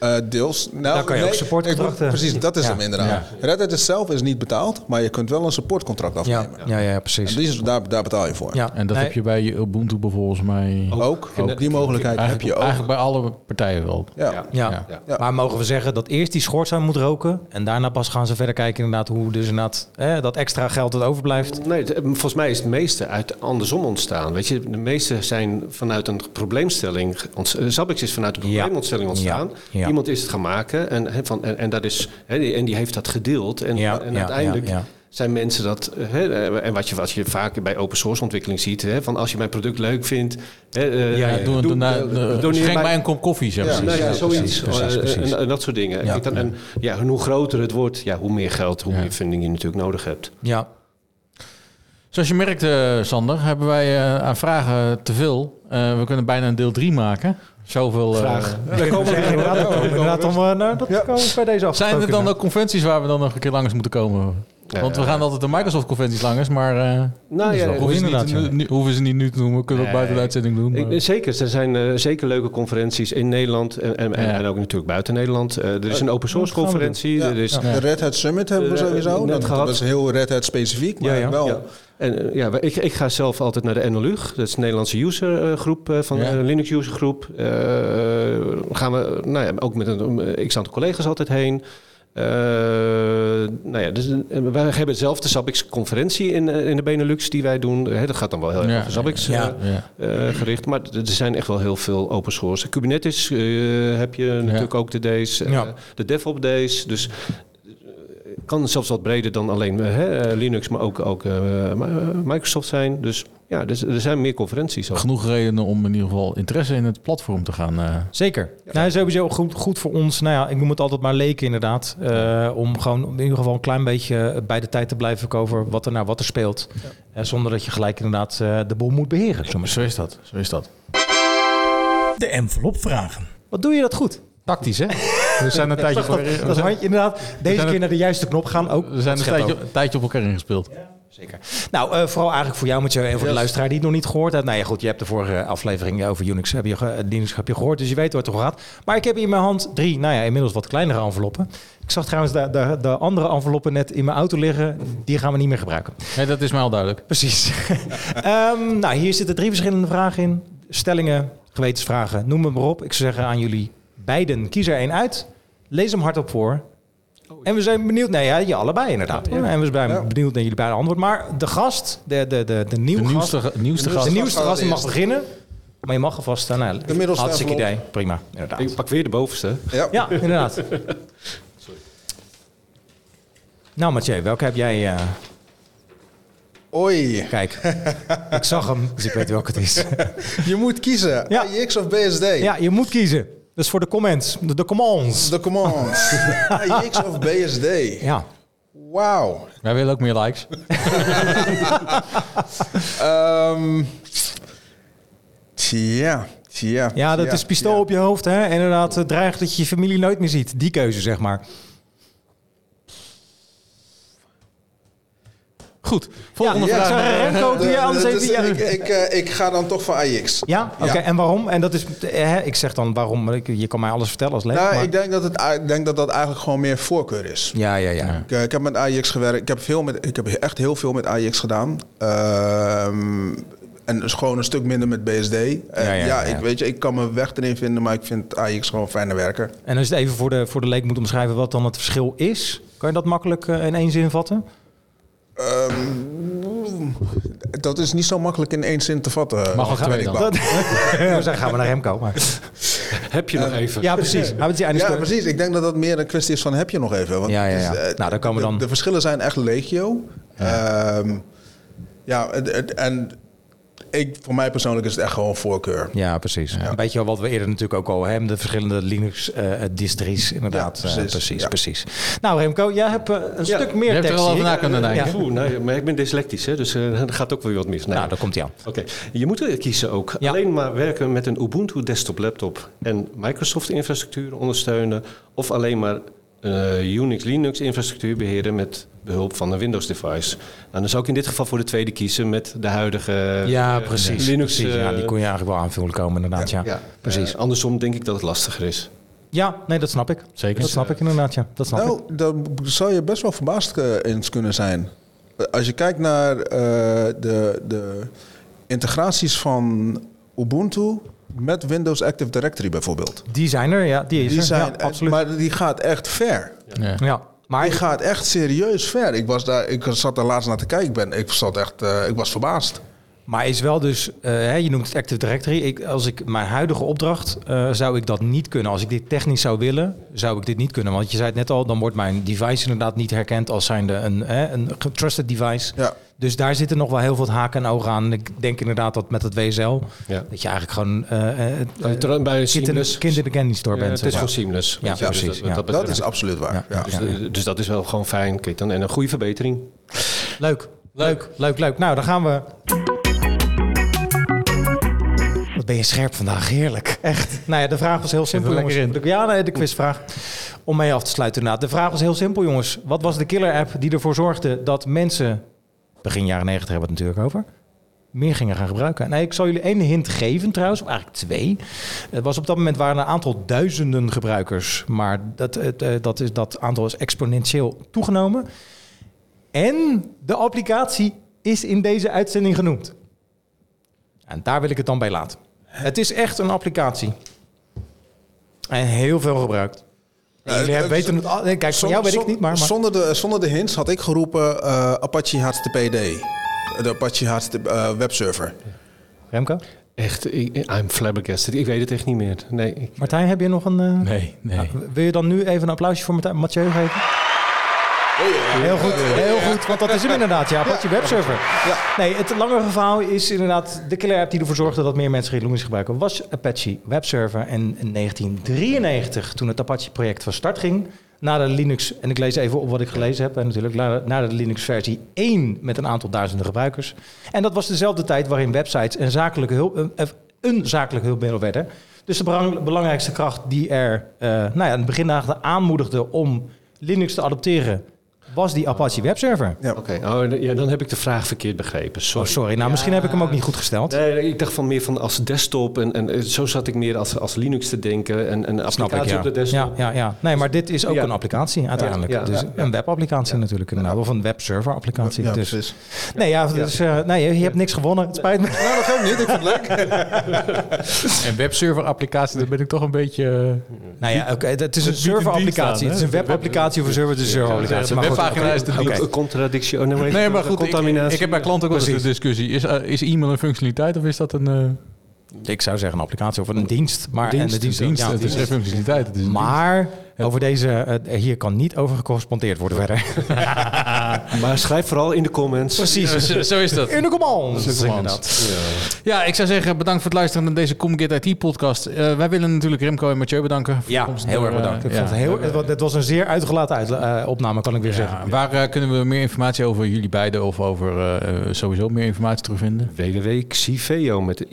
Eh, deels. Nou, Daar kan je ook nee, supportcontracten- ik- Precies, dat is Ja. hem inderdaad. Red Hat is zelf is niet betaald, maar je kunt wel een supportcontract ja, afnemen. ja, ja, En precies. die is, daar, daar betaal je voor. Ja. En dat Nee, heb je bij Ubuntu volgens mij. Ook, die mogelijkheid heb Eigenlijk, je ook. eigenlijk bij alle partijen wel. Ja. Ja. Ja. Ja. Ja. maar mogen we zeggen dat eerst die schoorsteen moet roken... en daarna pas gaan ze verder kijken inderdaad hoe dus inderdaad... Hè, dat extra geld dat overblijft. Nee, het- eh, volgens mij is het meeste uit andersom ontstaan. Weet je, de meeste zijn vanuit een probleemstelling. ge- Ont, eh, Zabbix is vanuit een Ja. probleemstelling ontstaan. Ja. Ja. Iemand is het gaan maken en, hè, van, en, en, dat is, hè, die- en die heeft dat gedeeld. En, Ja, en ja, uiteindelijk ja, ja. zijn mensen dat. eh, Hè, eh, en wat je, wat je vaak bij open source ontwikkeling ziet: hè, van als je mijn product leuk vindt. Hè, eh, Ja, doe, doe, eh, nou, eh, doneer schenk mij- mij een kop koffie, zeg Ja, maar. nou ja, zoiets. precies, precies, Eh, precies. En, en dat soort dingen. Ja. Kijk, dan, en, ja, en hoe groter het wordt, ja, hoe meer geld, hoe Ja. meer funding je natuurlijk nodig hebt. Ja, Zoals je merkt, eh, Sander, hebben wij eh, aan vragen te veel. Eh, we kunnen bijna een deel 3 maken. Zoveel eh, Graag. Daar komen we inderdaad, daar komen we inderdaad om. eh, nou, dat komen we bij deze af. Zijn er dan ook conventies waar we dan nog een keer langs moeten komen? Ja, Want we gaan altijd de Microsoft-conventies langs, maar eh Nou ja, hoeven, ze niet, inderdaad, ja. nu- hoeven ze niet nu te noemen. Kunnen we ook buiten de uitzending doen. Ik- maar- zeker, er zijn eh, zeker leuke conferenties in Nederland en, en, en- Ja. en ook natuurlijk buiten Nederland. Eh, er is een open source gaan we conferentie. Ja. Er is, De Red Hat Summit hebben we Eh, sowieso. Nou, net dat, gehad. dat is heel Red Hat specifiek, maar Ja, ja. wel. ja. En, eh, ja, wij- ik, ik ga zelf altijd naar de NLUG, dat is de Nederlandse usergroep groep eh, van Ja. de Linux usergroep. Eh, gaan we, nou ja, ook met een x aantal collega's altijd heen. Eh, nou ja, dus, eh, wij hebben zelf de Sabix-conferentie in, eh, in de Benelux die wij doen. Hè, dat gaat dan wel heel erg Ja. over Sabix Ja. eh, Ja. eh, gericht. Maar d- er zijn echt wel heel veel open source. Kubernetes eh, heb je natuurlijk ook de days. eh, Ja. De DevOps days. Dus eh, kan zelfs wat breder dan alleen eh, hè, eh, Linux, maar ook, ook eh, mi- eh, Microsoft zijn. Dus ja, dus er zijn meer conferenties. Al. Genoeg redenen om in ieder geval interesse in het platform te gaan. eh, Zeker. Nou, sowieso goed, goed voor ons. Nou ja, ik noem het altijd maar leken inderdaad. eh, om gewoon in ieder geval een klein beetje bij de tijd te blijven over wat er, nou, wat er speelt. Eh, zonder dat je gelijk inderdaad eh, de boel moet beheren. Zo maar. zo is dat. Zo is dat. De envelop vragen. Wat doe je dat goed? Tactisch, hè? We zijn een tijdje Dat, op dat, elkaar- is we een zijn- handje inderdaad. Deze zijn keer het- naar de juiste knop gaan ook. we zijn een Dat scheelt tijdje, ook. een tijdje op elkaar ingespeeld. Zeker. Nou, eh, vooral eigenlijk voor jou, Mathieu, en voor de luisteraar die het nog niet gehoord heeft. Nou ja, goed, je hebt de vorige aflevering over Unix, heb je, ge- eh, Linux heb je gehoord, dus je weet waar het over gaat. Maar ik heb in mijn hand drie, nou ja, inmiddels wat kleinere enveloppen. Ik zag trouwens de, de, de andere enveloppen net in mijn auto liggen. Die gaan we niet meer gebruiken. Nee, dat is mij al duidelijk. Precies. Ehm, nou, hier zitten drie verschillende vragen in. Stellingen, gewetensvragen, noem het maar op. Ik zou zeggen aan jullie beiden, kies er één uit. Lees hem hardop voor. Oh, En we zijn benieuwd, nee, ja, je allebei inderdaad. En we zijn benieuwd naar jullie beide antwoord. Maar de gast, de, de, de, de nieuwe De gast, nieuwste, nieuwste de gast. nieuwste gast die mag Eerst. beginnen. Maar je mag alvast staan. Nou, De middelste hartstikke idee. envelop. Prima, inderdaad. Ik pak weer de bovenste. Ja. Ja, inderdaad. Nou, Mathieu, welke heb jij? eh, Oei. kijk, ik zag hem, dus ik weet welke het is. Je moet kiezen. Ja. AIX of BSD? Ja, je moet kiezen. Dat is voor de comments, de, de commands. De commands. AIX of BSD? Ja, Wauw. Wij willen ook meer likes. Ehm tja, tja. ja dat tja, is pistool tja. op je hoofd. Hè? En Inderdaad, eh, dreigt dat je je familie nooit meer ziet. Die keuze, zeg maar. Goed, volgende Ja, vraag. ja. Zeg, Remco, doe Eh, je anders dat is- even... Ja, ik, ik, eh, ik ga dan toch voor AIX. ja? oké. En waarom? En dat is... eh, hè, ik zeg dan waarom. maar ik- Je kan mij alles vertellen als lid. Nou, maar- ik denk dat, het, ik denk dat dat eigenlijk gewoon meer voorkeur is. Ja, ja, ja. Ik, eh, ik heb met AIX gewerkt. Ik heb, veel met, ik heb echt heel veel met AIX gedaan. Ehm, en dus gewoon een stuk minder met BSD. En ja, ja, ja. Ik, weet je, ik kan mijn weg erin vinden, maar ik vind AIX gewoon fijner werken. En als je het even voor de, voor de leek moet omschrijven wat dan het verschil is... kan je dat makkelijk eh, in één zin vatten? Ehm, Dat is niet zo makkelijk in één zin te vatten. Mag ook Ben twee ik dan. bang. Dat, Nou, dan gaan we naar Remco. Maar. Heb je nog even? Ja, precies. Hij moet die einde Ja, steun- precies. Ik denk dat dat meer een kwestie is van heb je nog even. Want Ja, ja, ja. het is, eh, Nou, daar komen we de- dan- De verschillen zijn echt legio. Ja, ja het- het- en ik, voor mij persoonlijk is het echt gewoon voorkeur. Ja, precies. Een beetje wat we eerder natuurlijk ook al hebben. De verschillende Linux-distries, inderdaad. Ja, precies. Eh, precies, Ja. precies. Nou Remco, jij hebt eh, een stuk meer je hebt er wel tekst, zie over ik. na kunnen denken. Ja. Oeh, nee, maar ik ben dyslectisch, hè, dus eh, er gaat ook weer wat mis. Nee. Nou, daar komt hij aan. Oké, je moet er kiezen ook. Ja. Alleen maar werken met een Ubuntu desktop laptop en Microsoft infrastructuur ondersteunen. Of alleen maar eh, Unix Linux infrastructuur beheren met behulp van een Windows device. Nou, dan zou ik in dit geval voor de tweede kiezen met de huidige Ja, eh, precies. Linux. precies. ja, eh, die kon je eigenlijk wel aanvullen komen, inderdaad. Ja, ja. ja, precies. andersom denk ik dat het lastiger is. nee, dat snap ik. Zeker. Dat snap ik inderdaad, ja. Dat snap ik. Nou, daar b- zou je best wel verbaasd eh, eens kunnen zijn. Eh, Als je kijkt naar eh, de, de integraties van Ubuntu met Windows Active Directory bijvoorbeeld. Die zijn er, ja. Die is Die er. zijn, ja, absoluut. Maar die gaat echt ver. Ja. ja. Maar Die gaat echt serieus ver. Ik, was daar, ik zat daar laatst naar te kijken. Ik Ben, ik, zat echt, eh, ik was verbaasd. Maar is wel dus, eh, hè, je noemt het Active Directory. Ik, als ik mijn huidige opdracht, eh, zou ik dat niet kunnen. Als ik dit technisch zou willen, zou ik dit niet kunnen. Want je zei het net al, dan wordt mijn device inderdaad niet herkend als zijnde een, hè, een trusted device. Ja. Dus daar zitten nog wel heel veel haken en ogen aan. Ik denk inderdaad dat met het WSL, Ja. dat je eigenlijk gewoon eh, eh, het Bij kind, in, Seamless, kind in de candy store eh, bent. dus- het is zeg maar. gewoon seamless. Ja, weet je, dus precies, dat- wat ja. dat Dat betreft- is absoluut waar. Ja. Ja. Ja. Dus, dus dat is wel gewoon fijn. Kijk dan, en een goede verbetering. Leuk, leuk, leuk, leuk. Nou, dan gaan we. Wat ben je scherp vandaag, heerlijk. Echt. Nou ja, de vraag was heel simpel, Zit er jongens. lekker De- Ja, nee, de quizvraag. Om mee af te sluiten inderdaad. De vraag was heel simpel, jongens. Wat was de killer-app die ervoor zorgde dat mensen... Begin jaren negentig hebben we het natuurlijk over. Meer gingen gaan gebruiken. Nee, ik zal jullie één hint geven trouwens. Of eigenlijk twee. Het was op dat moment waren er een aantal duizenden gebruikers. Maar dat, het, eh, dat, is, dat aantal is exponentieel toegenomen. En de applicatie is in deze uitzending genoemd. En daar wil ik het dan bij laten. Het is echt een applicatie. En heel veel gebruikt. En Eh, jullie eh, weten het al. nee, Kijk, van jou weet ik Zon- niet, maar... maar Zonder, de, zonder de hints had ik geroepen eh, Apache HTTPD. De Apache HTTP, eh, webserver. Remco? Echt, ik, I'm flabbergasted. Ik weet het echt niet meer. Nee, ik- Martijn, heb je nog een... eh, Nee, nee. Wil je dan nu even een applausje voor Martijn, Mathieu geven? Oei, oei, Heel goed, heel goed. Want dat is hem inderdaad, ja. Apache webserver. Nee, het langere verhaal is inderdaad... de killer app die ervoor zorgde dat meer mensen GNU gebruiken... was Apache webserver. En in 1993, toen het Apache-project van start ging... na de Linux, en ik lees even op wat ik gelezen heb... en natuurlijk na- na de Linux versie 1 met een aantal duizenden gebruikers. En dat was dezelfde tijd waarin websites en zakelijke hulp... een- een zakelijk hulpmiddel werden... Dus de belang- belangrijkste kracht die er eh, nou ja, in het begin aanmoedigde om Linux te adopteren, was die Apache webserver. Ja. Oké, oh, ja, dan heb ik de vraag verkeerd begrepen. Oh, Sorry. sorry. Nou, misschien heb ik hem ook niet goed gesteld. Nee, nee, ik dacht van meer van als desktop en, en eh, zo zat ik meer als, als Linux te denken en, en Snap ik, applicatie ja. op de ja, desktop. ja, ja. Nee, maar dit is ook Ja. een applicatie uiteindelijk. Ja, ja, dus ja, een webapplicatie natuurlijk inderdaad. Of een webserver-applicatie. Ja, dus. precies. Nee, ja, dus, eh, nee, je- je hebt niks gewonnen. Het spijt me. Nou, dat geldt niet. Ik vind het leuk. En webserver-applicatie, daar ben ik toch een beetje... eh, Nou ja, oké, het is een biedt een dienst serverapplicatie. aan, Het is een hè? webapplicatie of een server, het is een serverapplicatie. De Maar goed, webpagina is de Een- dienst. Een contradictie. Oh, nee, Nee, maar goed, ik, contaminatie. ik heb bij klanten ook wel eens de Precies. discussie. Is, eh, is e-mail een functionaliteit of is dat een... eh, Ik zou zeggen een applicatie of een dienst. Maar en de dienst, dienst, ja, dus- het is geen functionaliteit. Het is een Maar over deze, eh, hier kan niet over gecorrespondeerd worden verder. Maar schrijf vooral in de comments. Precies. dienst. Zo- Zo is dat. In de command. Zo is het. Ja, ik zou zeggen bedankt voor het luisteren naar deze Comgate IT podcast. Eh, wij willen natuurlijk Remco en Mathieu bedanken. voor de Ja, komst heel door, erg eh, bedankt. Ik ja. vond het, heel, het, wa- het was een zeer uitgelaten uit- eh, opname, kan ik weer zeggen. Ja, waar eh, kunnen we meer informatie over jullie beiden of over eh, eh, sowieso meer informatie terugvinden? www.xiveo met de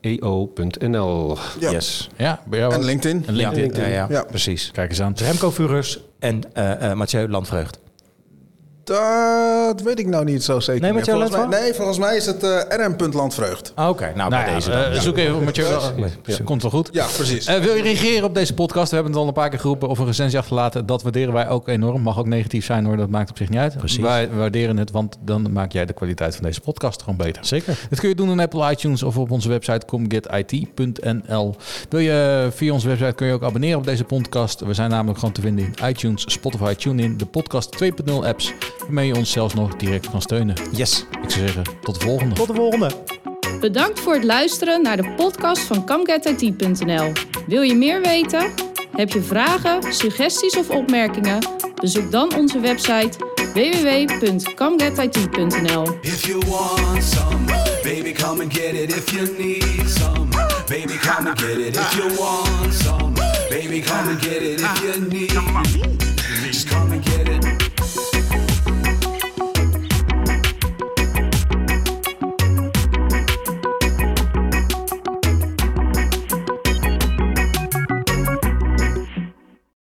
E xifeo.nl. Ja. Yes. Ja, bij jou. En LinkedIn. En LinkedIn. Ja, ja, Ja. precies. Kijk eens aan. Remco Furus en eh eh Mathieu Landvreugd. Dat weet ik nou niet zo zeker. Nee, meer. met jouw volgens mij, landvrouw? nee, volgens mij is het eh rm.landvreugd. Oké, nou, bij Nou ja, deze eh, dan. zoek even op Mathieu. Ja. Ja. Komt wel goed. Ja, precies. Eh, wil je reageren op deze podcast? We hebben het al een paar keer geroepen of een recensie achterlaten. Dat waarderen wij ook enorm. Mag ook negatief zijn hoor, dat maakt op zich niet uit. Wij waarderen het, want dan maak jij de kwaliteit van deze podcast gewoon beter. Zeker. Dat kun je doen in Apple iTunes of op onze website comgetit.nl. Wil je via onze website kun je ook abonneren op deze podcast. We zijn namelijk gewoon te vinden in iTunes, Spotify, TuneIn, de podcast 2.0 apps, waarmee je ons zelfs nog direct kan steunen. Yes. Ik zou zeggen, tot de volgende. Tot de volgende. Bedankt voor het luisteren naar de podcast van CamGetIT.nl. Wil je meer weten? Heb je vragen, suggesties of opmerkingen? Bezoek dan onze website www.camgetit.nl. If you want some, baby, come and get it. If you need some, baby, come and get it. If you want some, baby, come and get it. If you need, just come and get it.